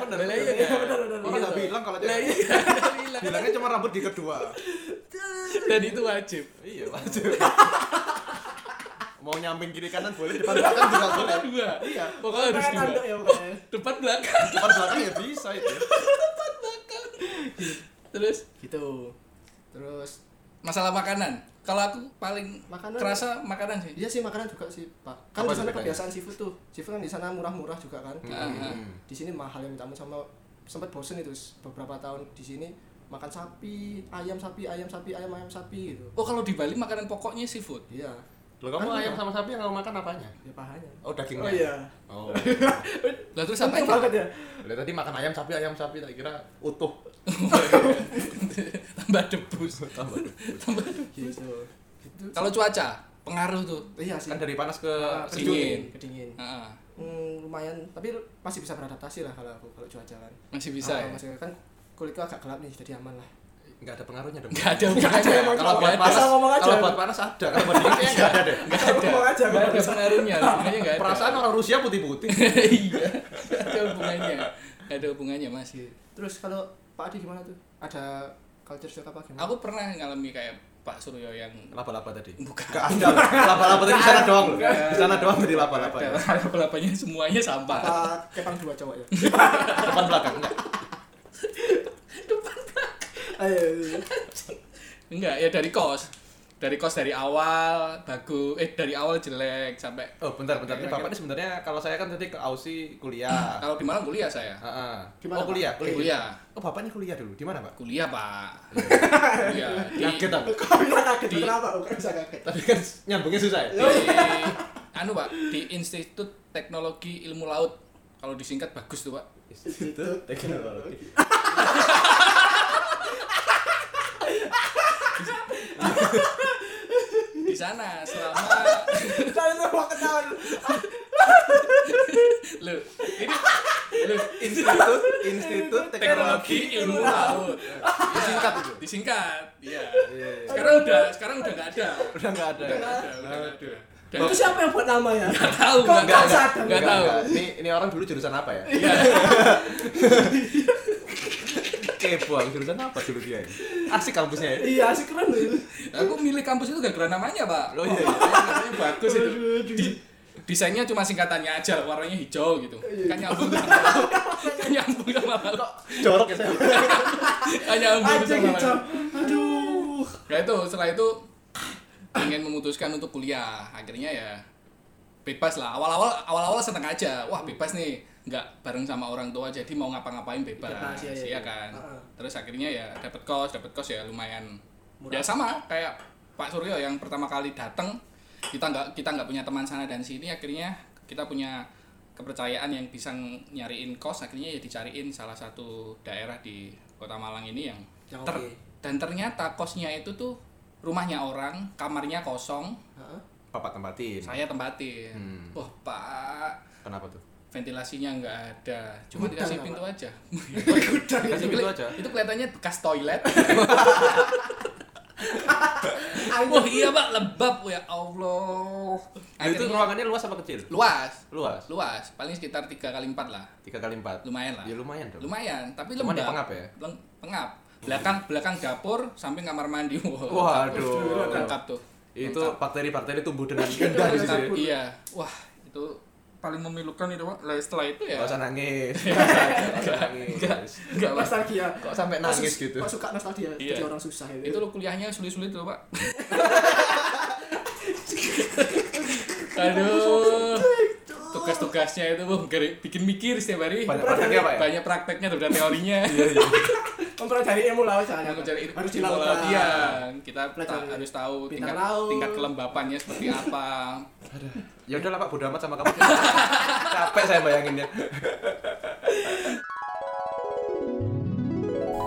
[SPEAKER 4] Iya,
[SPEAKER 2] kan?
[SPEAKER 4] benar, benar.
[SPEAKER 3] Orang nggak bilang kalau
[SPEAKER 2] Lah,
[SPEAKER 3] cewek.
[SPEAKER 2] iya, kan? Bilang.
[SPEAKER 3] Bilangnya cuma rambut di kedua.
[SPEAKER 2] Dan itu wajib.
[SPEAKER 3] Iya, wajib. Mau nyamping kiri kanan boleh, depan belakang juga boleh.
[SPEAKER 2] Dua.
[SPEAKER 3] Iya.
[SPEAKER 2] Pokoknya harus
[SPEAKER 4] Kayak
[SPEAKER 2] dua.
[SPEAKER 4] tanduk ya pokoknya.
[SPEAKER 2] Depan belakang.
[SPEAKER 3] Depan belakang ya bisa itu.
[SPEAKER 2] Terus
[SPEAKER 4] gitu terus
[SPEAKER 2] masalah makanan. Kalau aku paling
[SPEAKER 4] Makanan.
[SPEAKER 2] kerasa makanan sih.
[SPEAKER 4] iya sih makanan juga sih pak kan
[SPEAKER 3] Apa
[SPEAKER 4] di sana
[SPEAKER 3] bedanya?
[SPEAKER 4] kebiasaan seafood tuh seafood kan di sana murah-murah juga kan
[SPEAKER 2] Hmm.
[SPEAKER 4] di sini mahal yang tamu sama sempat bosen itu s- beberapa tahun di sini makan sapi ayam sapi ayam sapi ayam ayam sapi gitu
[SPEAKER 2] Oh kalau di Bali makanan pokoknya seafood.
[SPEAKER 4] iya
[SPEAKER 3] Lo kamu
[SPEAKER 4] Kan
[SPEAKER 3] ayam
[SPEAKER 4] iya.
[SPEAKER 3] sama sapi yang kamu makan apanya?
[SPEAKER 4] ya pahanya
[SPEAKER 3] Oh dagingnya.
[SPEAKER 4] oh iya
[SPEAKER 3] Oh.
[SPEAKER 2] Lah terus apa
[SPEAKER 4] penting
[SPEAKER 2] itu?
[SPEAKER 4] banget ya
[SPEAKER 3] Lah, tadi makan ayam sapi ayam sapi tak kira utuh.
[SPEAKER 2] Tambah debus.
[SPEAKER 3] Tambah debus.
[SPEAKER 2] Tambah
[SPEAKER 4] gitu gitu
[SPEAKER 2] Kalau cuaca pengaruh tuh.
[SPEAKER 4] iya sih
[SPEAKER 3] Kan dari panas ke
[SPEAKER 4] Ah,
[SPEAKER 3] sejuk.
[SPEAKER 2] dingin.
[SPEAKER 4] kedingin
[SPEAKER 2] Heeh.
[SPEAKER 4] Hmm, lumayan tapi masih bisa beradaptasi lah kalau aku kalau cuaca kan
[SPEAKER 2] Masih bisa
[SPEAKER 4] Ah,
[SPEAKER 2] ya.
[SPEAKER 4] masih kan kulitku agak gelap nih jadi aman lah
[SPEAKER 3] Enggak ada pengaruhnya dong.
[SPEAKER 2] Enggak ada
[SPEAKER 4] ada
[SPEAKER 2] hubungannya.
[SPEAKER 4] yang mau
[SPEAKER 3] Kalau
[SPEAKER 4] Coba,
[SPEAKER 3] buat panas,
[SPEAKER 4] asal ngomong aja.
[SPEAKER 3] kalau buat panas ada, kalau buat dingin kayaknya enggak ada deh.
[SPEAKER 2] Enggak ada.
[SPEAKER 4] Ngomong aja,
[SPEAKER 2] Nggak ada
[SPEAKER 4] ngomong aja.
[SPEAKER 2] pengaruhnya. Hubungannya enggak ada. [laughs]
[SPEAKER 3] Perasaan orang Rusia putih-putih.
[SPEAKER 2] Iya. Nggak ada hubungannya. Nggak ada hubungannya masih.
[SPEAKER 4] Terus kalau Pak Adi gimana tuh? Ada culture shock apa gimana?
[SPEAKER 2] Aku pernah ngalami kayak Pak Suryo yang
[SPEAKER 3] Laba-laba tadi.
[SPEAKER 2] Bukan.
[SPEAKER 3] Enggak ada. Laba-laba tadi di sana doang loh. Di sana doang tadi laba-laba.
[SPEAKER 2] [laughs] Ada laba-labanya ya? semuanya sampah.
[SPEAKER 4] Pak Kepang dua cowok
[SPEAKER 2] [laughs]
[SPEAKER 4] ya?
[SPEAKER 3] Depan belakang enggak.
[SPEAKER 4] Ayo, ayo, ayo.
[SPEAKER 2] Enggak, ya dari kos. Dari kos dari awal bagus, eh dari awal jelek sampai
[SPEAKER 3] Oh, bentar, bentar. Ini Bapak ini sebenarnya kalau saya kan tadi ke Aussie kuliah.
[SPEAKER 2] kalau di Malang kuliah saya.
[SPEAKER 3] Heeh.
[SPEAKER 4] Gimana,
[SPEAKER 3] Oh, kuliah,
[SPEAKER 2] Kuliah.
[SPEAKER 3] kuliah. Oh, Bapak ini kuliah dulu. Di mana, Pak?
[SPEAKER 2] Kuliah, Pak. kuliah. Di,
[SPEAKER 3] Kaget aku.
[SPEAKER 4] [laughs] Kok bisa kaget?
[SPEAKER 2] Di-
[SPEAKER 4] Kenapa? Kok bisa kaget?
[SPEAKER 3] Tapi kan nyambungnya susah ya.
[SPEAKER 2] di- anu, Pak, di Institut Teknologi Ilmu Laut. Kalau disingkat bagus tuh, Pak.
[SPEAKER 3] Itu teknologi.
[SPEAKER 2] Di sana selama
[SPEAKER 4] Kalian tuh mau ketahuan
[SPEAKER 2] Loh, ini Loh,
[SPEAKER 3] Institut Institut
[SPEAKER 2] Teknologi Ilmu Laut.
[SPEAKER 3] Disingkat itu.
[SPEAKER 2] Disingkat. Iya.
[SPEAKER 3] Iya, iya.
[SPEAKER 2] Sekarang udah, sekarang udah nggak ada.
[SPEAKER 3] Udah enggak ada.
[SPEAKER 2] Udah nggak ada, udah nggak ada. Dan
[SPEAKER 4] Itu siapa yang buat nama ya?
[SPEAKER 2] nggak tahu,
[SPEAKER 4] Kok
[SPEAKER 2] nggak
[SPEAKER 4] nggak
[SPEAKER 2] tahu.
[SPEAKER 4] sadar?
[SPEAKER 2] Nggak tahu.
[SPEAKER 3] Ini ini orang dulu jurusan apa ya?
[SPEAKER 2] Iya.
[SPEAKER 3] Kepo, aku, jurusan apa dulu dia? ya? Asik kampusnya ya.
[SPEAKER 4] [laughs] Iya, asik keren loh itu
[SPEAKER 2] Aku milih kampus itu gara-gara namanya, Pak.
[SPEAKER 3] Oh iya.
[SPEAKER 2] Namanya bagus itu.
[SPEAKER 4] Aduh, aduh.
[SPEAKER 2] Di- desainnya cuma singkatannya aja, warnanya hijau gitu.
[SPEAKER 4] Iya.
[SPEAKER 2] Kan nyambung sama kan nyambung sama
[SPEAKER 3] Jorok ya saya.
[SPEAKER 2] kan nyambung
[SPEAKER 4] Aja
[SPEAKER 2] sama
[SPEAKER 4] gitu Aduh
[SPEAKER 2] Ya itu, setelah itu ingin memutuskan untuk kuliah. Akhirnya ya bebas lah. Awal-awal awal-awal seneng aja. Wah, bebas nih. Enggak bareng sama orang tua jadi mau ngapa-ngapain bebas.
[SPEAKER 4] Bebas, iya, iya, iya.
[SPEAKER 2] kan.
[SPEAKER 4] Heeh.
[SPEAKER 2] Terus akhirnya ya dapat kos, dapat kos ya lumayan.
[SPEAKER 4] Murah.
[SPEAKER 2] Ya sama kayak Pak Suryo yang pertama kali datang kita nggak kita nggak punya teman sana dan sini akhirnya kita punya kepercayaan yang bisa nyariin kos akhirnya ya dicariin salah satu daerah di Kota Malang ini yang
[SPEAKER 4] Yang
[SPEAKER 2] ter-
[SPEAKER 4] oke.
[SPEAKER 2] dan ternyata kosnya itu tuh rumahnya orang kamarnya kosong
[SPEAKER 4] Hah?
[SPEAKER 3] Bapak
[SPEAKER 4] Iya.
[SPEAKER 3] tempatin.
[SPEAKER 2] saya tempatin
[SPEAKER 4] Hmm.
[SPEAKER 2] wah pak
[SPEAKER 3] Kenapa tuh?
[SPEAKER 2] ventilasinya nggak ada cuma
[SPEAKER 4] Gudang,
[SPEAKER 2] dikasih
[SPEAKER 4] Pak.
[SPEAKER 2] pintu aja
[SPEAKER 4] [laughs] Gudang ya,
[SPEAKER 3] Kasih
[SPEAKER 2] Itu
[SPEAKER 3] pintu
[SPEAKER 2] keli-
[SPEAKER 3] aja.
[SPEAKER 2] itu kelihatannya bekas toilet [laughs] Wah iya pak lebab ya Allah.
[SPEAKER 3] Nah, itu
[SPEAKER 2] Akhirnya-
[SPEAKER 3] ruangannya luas apa kecil?
[SPEAKER 2] luas,
[SPEAKER 3] Luas.
[SPEAKER 2] luas, paling sekitar 3 kali 4 lah,
[SPEAKER 3] Tiga kali empat.
[SPEAKER 2] lumayan lah.
[SPEAKER 3] Ya lumayan dong.
[SPEAKER 2] Lumayan, tapi
[SPEAKER 3] Cuman
[SPEAKER 2] lembab.
[SPEAKER 3] di pengap ya?
[SPEAKER 2] Leng- pengap. Belakang belakang dapur samping kamar mandi. Wah,
[SPEAKER 3] Waduh.
[SPEAKER 2] lengkap tuh.
[SPEAKER 3] Itu
[SPEAKER 2] Lengkap.
[SPEAKER 3] bakteri-bakteri tumbuh dengan indah di situ.
[SPEAKER 2] Lengkap, iya. Wah, itu paling memilukan itu, Pak. Lah setelah itu ya.
[SPEAKER 3] Gak usah nangis. Gak usah nangis.
[SPEAKER 2] Enggak, Pak.
[SPEAKER 4] nostalgia
[SPEAKER 3] Kok sampai nangis
[SPEAKER 4] Kok su-
[SPEAKER 3] gitu?
[SPEAKER 4] kok suka nostalgia
[SPEAKER 2] Iya.
[SPEAKER 4] jadi orang susah
[SPEAKER 2] Itu lo kuliahnya sulit-sulit tuh, Pak. Aduh. Tugas-tugasnya itu Bung, gara- bikin mikir setiap hari.
[SPEAKER 3] Banyak prakteknya, Pak, ya? Iya.
[SPEAKER 2] Banyak prakteknya daripada teorinya.
[SPEAKER 4] mempelajari ilmu lah misalnya
[SPEAKER 2] Harus cari
[SPEAKER 4] harus
[SPEAKER 2] ilmu
[SPEAKER 4] dilakukan
[SPEAKER 2] laut, Iya, kita ta-
[SPEAKER 4] Pelajari
[SPEAKER 2] harus tahu tingkat
[SPEAKER 4] bintang laut.
[SPEAKER 2] tingkat kelembapannya seperti apa.
[SPEAKER 3] Ya udah lah Pak, bodo amat sama kamu.
[SPEAKER 4] [laughs]
[SPEAKER 3] Capek saya
[SPEAKER 4] ya.
[SPEAKER 3] bayanginnya.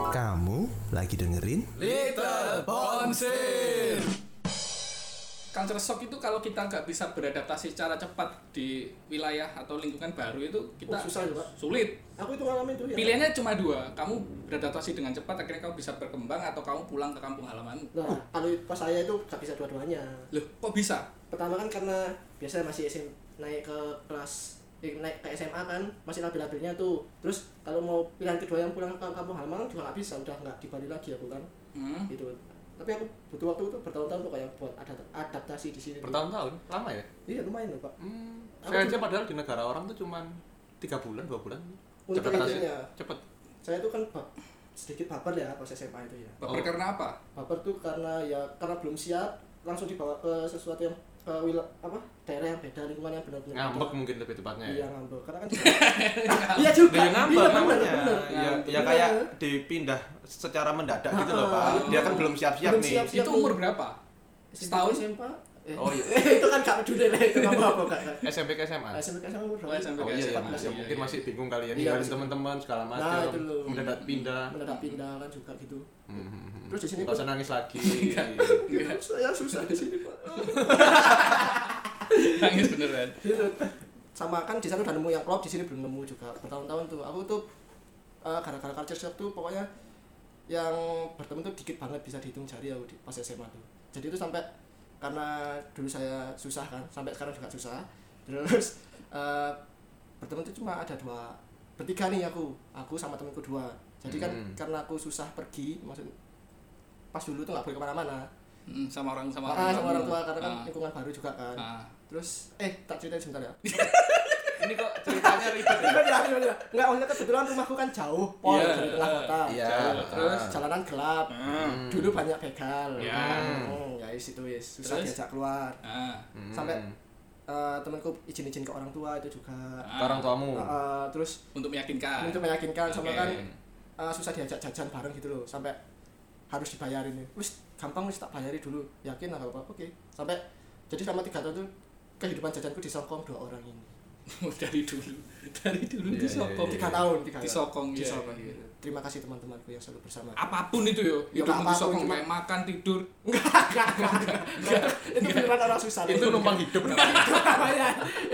[SPEAKER 1] Kamu lagi dengerin?
[SPEAKER 3] Little
[SPEAKER 2] Bonsir. Culture shock itu kalau kita nggak bisa beradaptasi secara cepat di wilayah atau lingkungan baru itu kita
[SPEAKER 4] Oh, susah ya, Pak.
[SPEAKER 2] sulit.
[SPEAKER 4] aku itu ngalamin tuh ya
[SPEAKER 2] Pilihannya cuma dua, kamu beradaptasi dengan cepat akhirnya kamu bisa berkembang atau kamu pulang ke kampung halamanmu.
[SPEAKER 4] nah kalau pas saya itu gak bisa dua-duanya
[SPEAKER 2] Loh, kok bisa?
[SPEAKER 4] pertama kan karena biasanya masih SM naik ke kelas eh, naik ke SMA kan masih labil-labilnya tuh terus kalau mau pilihan kedua yang pulang ke kampung halaman juga nggak bisa udah nggak di Bali lagi aku kan
[SPEAKER 2] Hmm.
[SPEAKER 4] gitu tapi aku butuh waktu tuh bertahun-tahun tuh kayak buat ada- adaptasi di sini
[SPEAKER 3] Bertahun-tahun, lama ya?
[SPEAKER 4] iya lumayan loh pak
[SPEAKER 3] Hmm,
[SPEAKER 4] Aku
[SPEAKER 3] saya aja
[SPEAKER 4] juga-
[SPEAKER 3] padahal di negara orang tuh cuman tiga bulan, dua bulan.
[SPEAKER 4] Untuk
[SPEAKER 3] Cepet aja.
[SPEAKER 4] itunya.
[SPEAKER 3] Cepet.
[SPEAKER 4] saya tuh kan ba- sedikit baper ya pas SMA itu ya
[SPEAKER 2] Baper
[SPEAKER 3] Oh.
[SPEAKER 2] karena apa?
[SPEAKER 4] baper tuh karena ya karena belum siap langsung dibawa ke sesuatu yang ke wil- apa daerah yang beda lingkungan yang benar-benar beda.
[SPEAKER 3] Ngambek mungkin lebih
[SPEAKER 2] Eh.
[SPEAKER 3] tepatnya ya.
[SPEAKER 4] iya ngambek karena
[SPEAKER 2] [laughs]
[SPEAKER 4] kan iya juga
[SPEAKER 3] Dia ngambek
[SPEAKER 4] Iya, bener,
[SPEAKER 3] namanya. Ya,
[SPEAKER 4] bener. Ngambek,
[SPEAKER 3] ya
[SPEAKER 4] bener.
[SPEAKER 3] kayak dipindah secara mendadak gitu loh
[SPEAKER 4] Ah,
[SPEAKER 3] Pak. Dia kan
[SPEAKER 4] iya.
[SPEAKER 3] belum siap-siap
[SPEAKER 4] Belum
[SPEAKER 3] nih.
[SPEAKER 4] siap-siap.
[SPEAKER 2] Itu
[SPEAKER 4] Siap,
[SPEAKER 2] umur
[SPEAKER 4] Bu.
[SPEAKER 2] berapa? [laughs] Setahun?
[SPEAKER 4] setahun SMP eh,
[SPEAKER 3] Oh, iya.
[SPEAKER 4] [laughs] itu kan gak peduli lah itu nggak apa-apa kak
[SPEAKER 3] SMP ke SMA.
[SPEAKER 4] SMP kan sama umur
[SPEAKER 2] Oh, SMP
[SPEAKER 3] Oh
[SPEAKER 2] ke
[SPEAKER 3] iya, ya,
[SPEAKER 2] SMA,
[SPEAKER 3] ya,
[SPEAKER 2] iya,
[SPEAKER 3] mungkin
[SPEAKER 2] iya.
[SPEAKER 3] masih bingung kali ya
[SPEAKER 4] Iya,
[SPEAKER 3] ninggalin
[SPEAKER 4] masih-
[SPEAKER 3] teman-teman segala macam,
[SPEAKER 4] Nah, itu loh.
[SPEAKER 3] mendadak pindah.
[SPEAKER 4] mendadak pindah kan juga gitu
[SPEAKER 3] Hmm.
[SPEAKER 4] terus di sini Iya.
[SPEAKER 3] Nggak
[SPEAKER 4] pun
[SPEAKER 3] usah nangis
[SPEAKER 4] [laughs]
[SPEAKER 3] lagi.
[SPEAKER 4] saya susah di sini Pak.
[SPEAKER 2] Nangis Nah, beneran.
[SPEAKER 4] gitu sama kan di sana udah nemu yang klop di sini belum nemu juga bertahun-tahun tuh aku tuh eh, gara-gara culture shock tuh pokoknya yang bertemu tuh dikit banget bisa dihitung jari aku di pas SMA tuh jadi itu sampai karena dulu saya susah kan sampai sekarang juga susah terus eh, berteman tuh cuma ada dua bertiga nih aku aku sama temanku dua jadi kan
[SPEAKER 3] Hmm.
[SPEAKER 4] karena aku susah pergi maksud pas dulu tuh nggak boleh kemana-mana
[SPEAKER 2] Hmm, sama orang sama
[SPEAKER 4] Ah, sama
[SPEAKER 2] kamu.
[SPEAKER 4] orang tua karena kan
[SPEAKER 2] Ah,
[SPEAKER 4] lingkungan baru juga kan
[SPEAKER 2] ah.
[SPEAKER 4] terus eh tak cerita sebentar ya
[SPEAKER 3] Ini kok ceritanya ribet ya?
[SPEAKER 4] Enggak, enggak, enggak. Enggak, maksudnya kebetulan rumahku kan jauh, pol
[SPEAKER 2] Iya.
[SPEAKER 4] dari tengah kota.
[SPEAKER 3] Iya.
[SPEAKER 2] Jauh, terus
[SPEAKER 3] Ah.
[SPEAKER 4] Jalanan gelap.
[SPEAKER 2] Ah.
[SPEAKER 3] Hmm.
[SPEAKER 4] Dulu banyak begal.
[SPEAKER 2] Iya.
[SPEAKER 4] Hmm, ya wis, itu wis susah
[SPEAKER 2] Terus?
[SPEAKER 4] diajak keluar.
[SPEAKER 2] Ah.
[SPEAKER 3] Hmm.
[SPEAKER 4] Sampai eh, temanku izin-izin ke orang tua itu juga.
[SPEAKER 3] Ke orang tuamu. Hmm.
[SPEAKER 4] Eh, eh, terus
[SPEAKER 2] Ah. untuk meyakinkan. [laughs]
[SPEAKER 4] untuk meyakinkan
[SPEAKER 2] Ah.
[SPEAKER 4] sama
[SPEAKER 2] Oke.
[SPEAKER 4] kan eh, susah diajak jajan bareng gitu loh sampai harus dibayarin nih. Wis gampang wis tak bayari dulu. Yakin lah apa Oke. Sampai jadi sama tiga tahun tuh kehidupan jajanku disokong dua orang ini.
[SPEAKER 2] Oh, dari dulu, dari dulu
[SPEAKER 3] Iya, iya,
[SPEAKER 2] disokong.
[SPEAKER 3] iya.
[SPEAKER 4] Tiga tahun, tiga tahun.
[SPEAKER 2] Disokong, iya,
[SPEAKER 4] Disokong,
[SPEAKER 2] iya.
[SPEAKER 4] gitu. Terima kasih teman-temanku yang selalu bersama.
[SPEAKER 2] Apapun itu yo,
[SPEAKER 4] Ya,
[SPEAKER 2] hidupmu
[SPEAKER 4] apapun,
[SPEAKER 2] disokong
[SPEAKER 4] cuma-
[SPEAKER 2] kayak makan tidur.
[SPEAKER 4] Enggak, enggak, enggak, enggak. Itu beneran orang susah.
[SPEAKER 3] Iya. Itu numpang hidup namanya.
[SPEAKER 4] [laughs] namanya.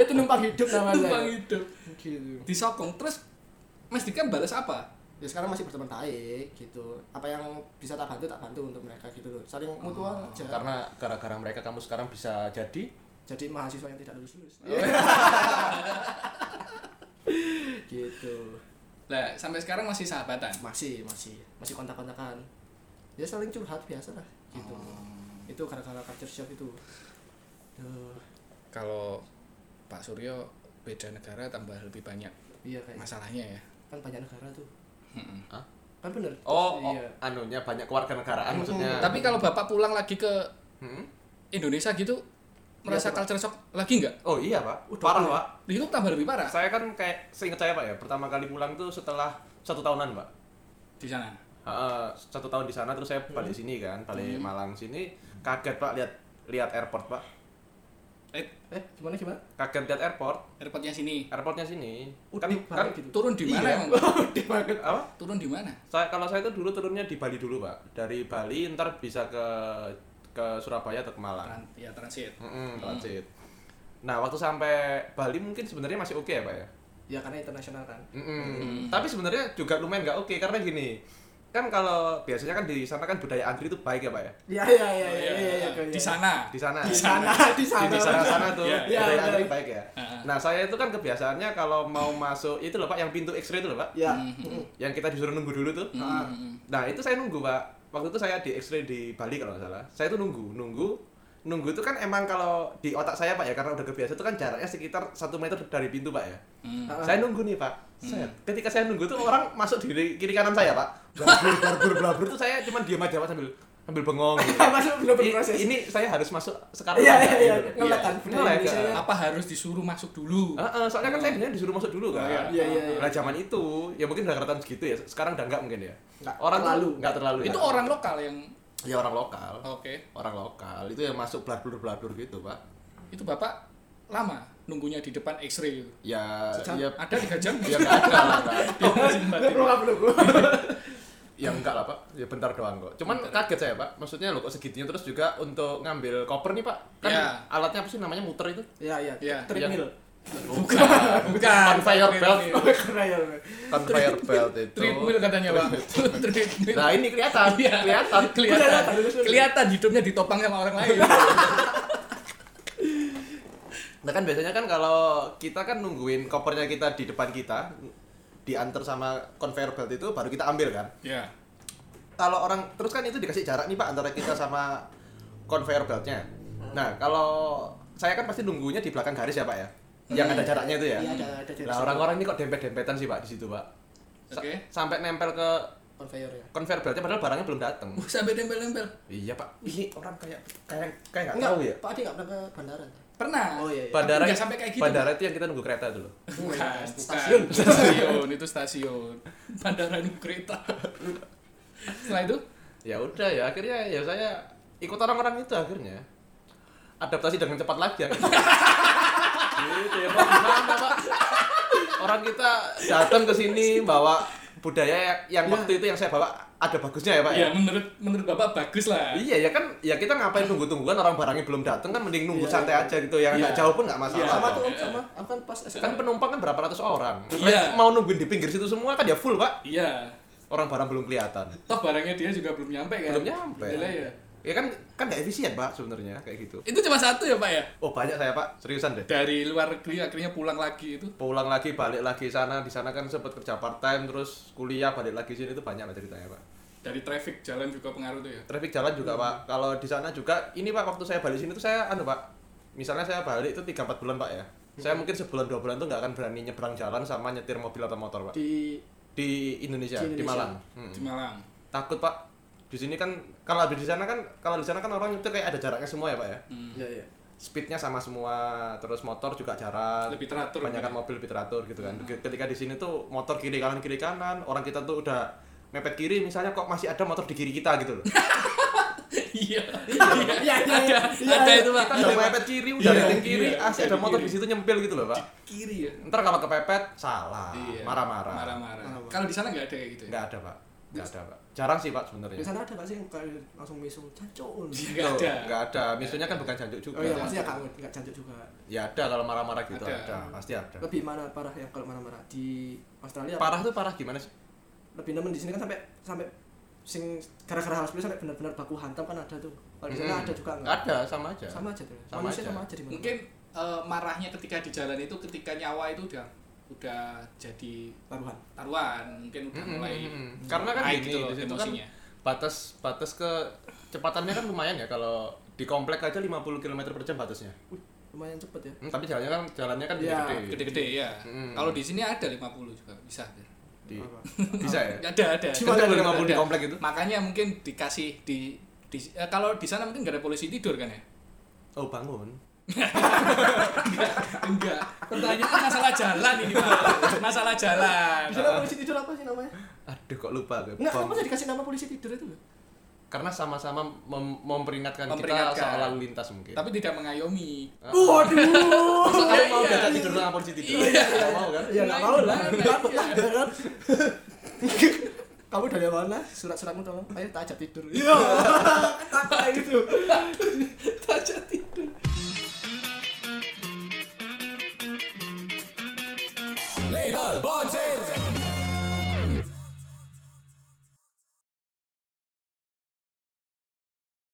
[SPEAKER 4] Itu numpang hidup namanya.
[SPEAKER 2] [laughs] Numpang hidup.
[SPEAKER 4] Gitu.
[SPEAKER 2] Disokong terus Mas Dika balas apa?
[SPEAKER 4] Ya sekarang masih berteman baik gitu. Apa yang bisa tak bantu tak bantu untuk mereka gitu loh. Saling mutual aja.
[SPEAKER 3] Oh, Karena gara-gara mereka kamu sekarang bisa jadi
[SPEAKER 4] Jadi mahasiswa yang tidak lulus lulus.
[SPEAKER 3] Oh,
[SPEAKER 4] [laughs]
[SPEAKER 3] iya.
[SPEAKER 4] gitu.
[SPEAKER 2] Lah, sampai sekarang masih sahabatan.
[SPEAKER 4] Masih, masih, masih kontak-kontakan. Ya saling curhat biasa lah
[SPEAKER 2] Oh.
[SPEAKER 4] gitu.
[SPEAKER 3] Oh.
[SPEAKER 4] Itu gara-gara culture shock itu. Duh,
[SPEAKER 2] Kalau Pak Suryo beda negara tambah lebih banyak
[SPEAKER 4] iya kayak
[SPEAKER 2] masalahnya ya.
[SPEAKER 4] kan banyak negara tuh.
[SPEAKER 2] Mm-mm.
[SPEAKER 3] Hah?
[SPEAKER 4] Kan bener.
[SPEAKER 3] Oh, oh,
[SPEAKER 4] iya.
[SPEAKER 3] anunya banyak keluarga negaraan
[SPEAKER 4] Hmm.
[SPEAKER 3] maksudnya.
[SPEAKER 2] Tapi kalau Bapak pulang lagi ke
[SPEAKER 3] Hmm?
[SPEAKER 2] Indonesia gitu merasa
[SPEAKER 4] Iya, Pak.
[SPEAKER 2] culture shock lagi nggak?
[SPEAKER 3] Oh iya Pak,
[SPEAKER 4] Udah,
[SPEAKER 3] parah
[SPEAKER 4] iya.
[SPEAKER 3] Pak.
[SPEAKER 2] Itu tambah lebih parah
[SPEAKER 3] Saya kan kayak seingat saya Pak ya, pertama kali pulang tuh setelah satu tahunan Pak.
[SPEAKER 2] di sana.
[SPEAKER 3] Ha, satu tahun di sana terus saya balik
[SPEAKER 4] Hmm.
[SPEAKER 3] sini kan, balik Malang sini kaget Pak lihat lihat airport Pak.
[SPEAKER 2] Eh,
[SPEAKER 3] oh.
[SPEAKER 4] Eh, gimana gimana?
[SPEAKER 3] Kaget lihat airport,
[SPEAKER 2] airportnya sini.
[SPEAKER 3] airportnya sini.
[SPEAKER 4] Udah
[SPEAKER 3] Kan kan
[SPEAKER 4] banget gitu.
[SPEAKER 2] Turun di mana
[SPEAKER 3] Iya.
[SPEAKER 4] [laughs]
[SPEAKER 2] emang, Pak?
[SPEAKER 3] apa?
[SPEAKER 2] Turun di mana?
[SPEAKER 3] Saya kalau saya itu dulu turunnya di Bali dulu Pak. Dari Bali ntar bisa ke ke Surabaya atau ke Malang.
[SPEAKER 2] Tran- ya transit.
[SPEAKER 3] Mm-mm, transit. Nah, waktu sampai Bali mungkin sebenarnya masih oke ya, Pak ya.
[SPEAKER 4] Ya karena Iya, internasional kan.
[SPEAKER 3] Mm-mm. Tapi sebenarnya juga lumayan nggak oke karena gini. kan kalau biasanya kan di sana kan budaya antri itu baik ya pak ya
[SPEAKER 4] Iya iya iya
[SPEAKER 2] Oh,
[SPEAKER 4] iya iya, iya.
[SPEAKER 2] di sana.
[SPEAKER 3] di sana
[SPEAKER 4] Di sana, di sana.
[SPEAKER 3] di sana sana tuh
[SPEAKER 2] Iya,
[SPEAKER 4] iya,
[SPEAKER 3] budaya
[SPEAKER 4] benar.
[SPEAKER 3] antri baik ya
[SPEAKER 2] Heeh.
[SPEAKER 3] nah saya itu kan kebiasaannya kalau mau masuk itu loh pak yang pintu X-ray itu loh pak
[SPEAKER 4] Ya. [laughs]
[SPEAKER 2] Mhm.
[SPEAKER 3] yang kita disuruh nunggu dulu tuh
[SPEAKER 4] Ah.
[SPEAKER 2] Mhm.
[SPEAKER 3] Nah itu saya nunggu pak. Waktu itu saya di X-ray di Bali kalau nggak salah. Saya tuh nunggu, nunggu, nunggu itu kan emang kalau di otak saya pak ya karena udah kebiasa itu kan jaraknya sekitar satu meter dari pintu pak ya.
[SPEAKER 2] Mhm.
[SPEAKER 4] Ah.
[SPEAKER 3] Saya nunggu nih pak. Saya, ketika saya nunggu tuh orang masuk di kiri kanan saya pak. Blabur, blabur, blabur tuh saya cuman diam aja pak sambil sambil bengong. Gitu.
[SPEAKER 4] [laughs] Masuk belum
[SPEAKER 3] I-
[SPEAKER 4] berproses.
[SPEAKER 3] ini saya harus masuk sekarang.
[SPEAKER 4] Iya
[SPEAKER 3] Pak,
[SPEAKER 4] iya iya.
[SPEAKER 3] gitu.
[SPEAKER 4] Ngelek kan
[SPEAKER 3] Iya,
[SPEAKER 4] budaya
[SPEAKER 3] ngelek,
[SPEAKER 4] Indonesia.
[SPEAKER 3] ya.
[SPEAKER 2] Apa harus disuruh masuk dulu?
[SPEAKER 3] Ah, ah, soalnya kan saya sebenarnya disuruh masuk dulu kan.
[SPEAKER 2] Oh, iya.
[SPEAKER 4] Iya, iya, iya.
[SPEAKER 3] Nah zaman itu ya mungkin udah keratan segitu ya. Sekarang udah enggak mungkin ya.
[SPEAKER 4] Nggak
[SPEAKER 3] orang tuh
[SPEAKER 4] terlalu.
[SPEAKER 3] nggak terlalu.
[SPEAKER 2] Itu
[SPEAKER 3] ya.
[SPEAKER 2] orang lokal yang
[SPEAKER 3] ya orang lokal.
[SPEAKER 2] oke.
[SPEAKER 3] Orang lokal itu yang masuk blablur blablur gitu pak.
[SPEAKER 2] Itu bapak lama nunggunya di depan X-ray itu.
[SPEAKER 3] Ya
[SPEAKER 4] Sejam?
[SPEAKER 3] ya
[SPEAKER 2] Ada tiga
[SPEAKER 3] [laughs]
[SPEAKER 2] jam. [laughs]
[SPEAKER 3] ya nggak ada lah
[SPEAKER 2] Iya,
[SPEAKER 3] Pak.
[SPEAKER 4] Belum belum belum.
[SPEAKER 3] Ya enggak lah pak. Ya bentar doang kok. Cuman kaget saya pak. Maksudnya lo kok segitunya terus juga untuk ngambil koper nih pak. Kan
[SPEAKER 2] Iya.
[SPEAKER 3] alatnya apa sih namanya muter itu?
[SPEAKER 4] Iya
[SPEAKER 2] Iya.
[SPEAKER 4] iya. [laughs] Treadmill.
[SPEAKER 2] Bukan, bukan.
[SPEAKER 3] Conveyor Kan belt.
[SPEAKER 4] Treadmill.
[SPEAKER 3] Conveyor belt itu.
[SPEAKER 2] Treadmill katanya, Pak. [laughs] Treadmill.
[SPEAKER 3] Nah ini kelihatan.
[SPEAKER 2] kan. Iya.
[SPEAKER 3] Kelihatan.
[SPEAKER 2] kelihatan kelihatan hidupnya ditopang sama orang lain Iya.
[SPEAKER 3] Nah kan biasanya kan kalau kita kan nungguin kopernya kita di depan kita diantar sama conveyor belt itu baru kita ambil kan.
[SPEAKER 2] ya
[SPEAKER 3] Kalau orang terus kan itu dikasih jarak nih Pak antara kita sama conveyor beltnya. Nah, kalau saya kan pasti nunggunya di belakang garis ya Pak ya. Yang ada jaraknya itu ya.
[SPEAKER 4] Iya, ada- ada jarak.
[SPEAKER 3] Nah, orang-orang ini kok dempet-dempetan sih Pak di situ Pak. Sa-
[SPEAKER 2] Oke.
[SPEAKER 3] Sampai nempel ke
[SPEAKER 4] Conveyor ya.
[SPEAKER 3] conveyor beltnya padahal barangnya belum datang.
[SPEAKER 2] Wah, Oh, sampai nempel-nempel
[SPEAKER 3] Iya Pak, ini orang kayak kayak kayak nggak
[SPEAKER 4] Enggak,
[SPEAKER 3] tahu ya.
[SPEAKER 4] Pak Adi nggak pernah ke bandara.
[SPEAKER 2] pernah
[SPEAKER 4] Oh, iya, iya.
[SPEAKER 3] Bandara
[SPEAKER 2] Tapi nggak sampai kayak gitu
[SPEAKER 3] bandara itu yang kita nunggu kereta dulu.
[SPEAKER 2] bukan
[SPEAKER 4] Stasiun.
[SPEAKER 2] stasiun stasiun itu stasiun [laughs] bandara nunggu kereta setelah itu
[SPEAKER 3] ya udah ya akhirnya ya saya ikut orang-orang itu akhirnya adaptasi dengan cepat lagi akhirnya. gitu ya pak gimana pak orang kita datang ke sini bawa budaya yang- yang waktu itu yang saya bawa ada bagusnya ya pak
[SPEAKER 2] ya
[SPEAKER 3] ya
[SPEAKER 2] menurut menurut bapak bagus lah
[SPEAKER 3] Iya ya kan, ya kita ngapain nunggu-tungguan orang barangnya belum datang kan mending nunggu
[SPEAKER 4] Iya,
[SPEAKER 3] santai
[SPEAKER 4] iya.
[SPEAKER 3] aja gitu yang nggak
[SPEAKER 2] Iya.
[SPEAKER 3] jauh pun nggak masalah.
[SPEAKER 4] Sama
[SPEAKER 3] Pak.
[SPEAKER 4] tuh Om, sama. Aku kan pas SMK.
[SPEAKER 3] Iya, Kan penumpang kan berapa ratus orang.
[SPEAKER 2] Iya.
[SPEAKER 3] Mau nungguin di pinggir situ semua kan ya full pak.
[SPEAKER 2] iya
[SPEAKER 3] Orang barang belum kelihatan.
[SPEAKER 2] toh barangnya dia juga belum nyampe kan
[SPEAKER 3] Belum nyampe.
[SPEAKER 2] Gila ya.
[SPEAKER 3] Ya kan kan nggak efisien pak sebenarnya kayak gitu.
[SPEAKER 2] itu cuma satu ya pak ya
[SPEAKER 3] Oh banyak saya pak, seriusan deh.
[SPEAKER 2] dari luar negeri akhirnya pulang lagi itu
[SPEAKER 3] Pulang lagi, balik lagi sana, di sana kan sempat kerja part time, terus kuliah, balik lagi sini itu banyak lah ceritanya pak.
[SPEAKER 2] dari traffic jalan juga pengaruh tuh ya
[SPEAKER 3] Traffic jalan juga pak. Kalau di sana juga, ini pak waktu saya balik sini tuh saya anu pak, misalnya saya balik itu tiga empat bulan pak ya. Saya mungkin sebulan dua bulan tuh nggak akan berani nyebrang jalan sama nyetir mobil atau motor pak. Hmm. Di,
[SPEAKER 4] di
[SPEAKER 3] Indonesia,
[SPEAKER 4] Di
[SPEAKER 3] di,
[SPEAKER 4] Indonesia.
[SPEAKER 3] Malang. Hmm.
[SPEAKER 2] di Malang
[SPEAKER 3] Takut pak. Di sini kan kalau di sana kan kalau di sana kan orang nyetir kayak ada jaraknya semua ya pak ya.
[SPEAKER 2] Hmm.
[SPEAKER 4] Iya iya.
[SPEAKER 3] speednya sama semua terus motor juga jarak
[SPEAKER 2] Lebih teratur.
[SPEAKER 3] banyakkan mobil lebih teratur gitu kan ketika di sini tuh motor kiri kanan kiri kanan orang kita tuh udah mepet kiri misalnya kok masih ada motor di kiri kita gitu loh
[SPEAKER 2] [laughs] iya
[SPEAKER 4] Iya, iya,
[SPEAKER 2] ada
[SPEAKER 4] iya.
[SPEAKER 2] ada Nah, itu pak
[SPEAKER 3] kita udah mepet kiri udah
[SPEAKER 2] Iya,
[SPEAKER 3] mepet kiri
[SPEAKER 2] iya,
[SPEAKER 3] asli
[SPEAKER 2] iya,
[SPEAKER 3] ada
[SPEAKER 2] di
[SPEAKER 3] motor
[SPEAKER 2] kiri.
[SPEAKER 3] di situ nyempil gitu loh pak
[SPEAKER 2] kiri ya
[SPEAKER 3] ntar kalau kepepet salah
[SPEAKER 2] Iya.
[SPEAKER 3] Ah, marah-marah
[SPEAKER 2] Marah-marah.
[SPEAKER 4] Marah-marah.
[SPEAKER 2] Kalau di sana nggak ada kayak gitu ya?
[SPEAKER 3] nggak ada pak nggak ada pak jarang sih pak sebenarnya
[SPEAKER 4] Di sana ada nggak sih yang kayak langsung mesum jancuk?
[SPEAKER 2] Nggak
[SPEAKER 3] Tuh,
[SPEAKER 2] ada.
[SPEAKER 3] Iya. nggak ada misunya kan bukan janjuk juga
[SPEAKER 4] Oh iya, maksudnya kangen, nggak jancuk juga.
[SPEAKER 3] ya ada kalau marah-marah gitu
[SPEAKER 2] Ada.
[SPEAKER 3] ada pasti ada
[SPEAKER 4] Lebih mana parah yang kalau marah-marah di Australia?
[SPEAKER 3] parah tuh parah gimana sih
[SPEAKER 4] Lebih nemen di sini kan sampai sampai sing gara-gara hal seperti itu sampai benar-benar baku hantam kan ada tuh. Kalau di sana
[SPEAKER 3] Hmm.
[SPEAKER 4] ada juga nggak?
[SPEAKER 3] ada sama aja
[SPEAKER 4] Sama aja tuh.
[SPEAKER 3] Sama
[SPEAKER 4] Manusia
[SPEAKER 3] aja.
[SPEAKER 4] sama aja di mana.
[SPEAKER 2] Mungkin eh, marahnya ketika di jalan itu ketika nyawa itu udah udah jadi
[SPEAKER 4] taruhan.
[SPEAKER 2] taruhan, mungkin udah
[SPEAKER 3] Mm,
[SPEAKER 2] mulai
[SPEAKER 3] mm, mm. karena kan
[SPEAKER 2] naik
[SPEAKER 3] gini,
[SPEAKER 2] gitu loh
[SPEAKER 3] di situ kan
[SPEAKER 2] emosinya.
[SPEAKER 3] batas batas ke cepatannya kan lumayan ya kalau di komplek aja 50 km per jam batasnya
[SPEAKER 4] Wih, lumayan cepet ya.
[SPEAKER 3] Hmm, tapi jalannya kan jalannya
[SPEAKER 2] Iya.
[SPEAKER 3] kan
[SPEAKER 4] Ya,
[SPEAKER 3] gede-gede
[SPEAKER 2] Gede-gede ya.
[SPEAKER 3] Mm.
[SPEAKER 2] Kalau di sini ada 50 juga bisa. Iya.
[SPEAKER 3] Di- [laughs]
[SPEAKER 4] Apa?
[SPEAKER 3] bisa ya
[SPEAKER 2] Ada ada.
[SPEAKER 3] Cuma
[SPEAKER 2] Ada,
[SPEAKER 3] ada 50 di
[SPEAKER 2] ada.
[SPEAKER 3] komplek itu?
[SPEAKER 2] Makanya mungkin dikasih di, di- eh, kalau di sana mungkin nggak ada polisi tidur kan ya?
[SPEAKER 3] oh bangun
[SPEAKER 2] Enggak, enggak. Pertanyaan masalah jalan ini, Pak. Masalah jalan.
[SPEAKER 4] Di sana polisi tidur apa sih namanya?
[SPEAKER 3] aduh kok lupa gue
[SPEAKER 4] Nggak,
[SPEAKER 3] Bom.
[SPEAKER 4] kamu jadi dikasih nama polisi tidur itu loh.
[SPEAKER 3] karena sama-sama mem- memperingatkan,
[SPEAKER 2] Memperingatkan.
[SPEAKER 3] kita soal lalu lintas mungkin
[SPEAKER 2] Tapi tidak mengayomi.
[SPEAKER 4] Waduh.
[SPEAKER 3] Masa kamu mau
[SPEAKER 2] Iya,
[SPEAKER 3] diajak
[SPEAKER 2] iya.
[SPEAKER 3] tidur sama polisi tidur
[SPEAKER 2] Iya.
[SPEAKER 3] Nggak mau kan
[SPEAKER 4] [laughs] Ya nggak mau lah,
[SPEAKER 2] Gimana?
[SPEAKER 4] batuk lah kan. [laughs] Kamu dari mana? [laughs] Surat-suratmu tolong. Ayo tak ajak tidur. Iya. Takut kayak gitu.
[SPEAKER 2] Tajati.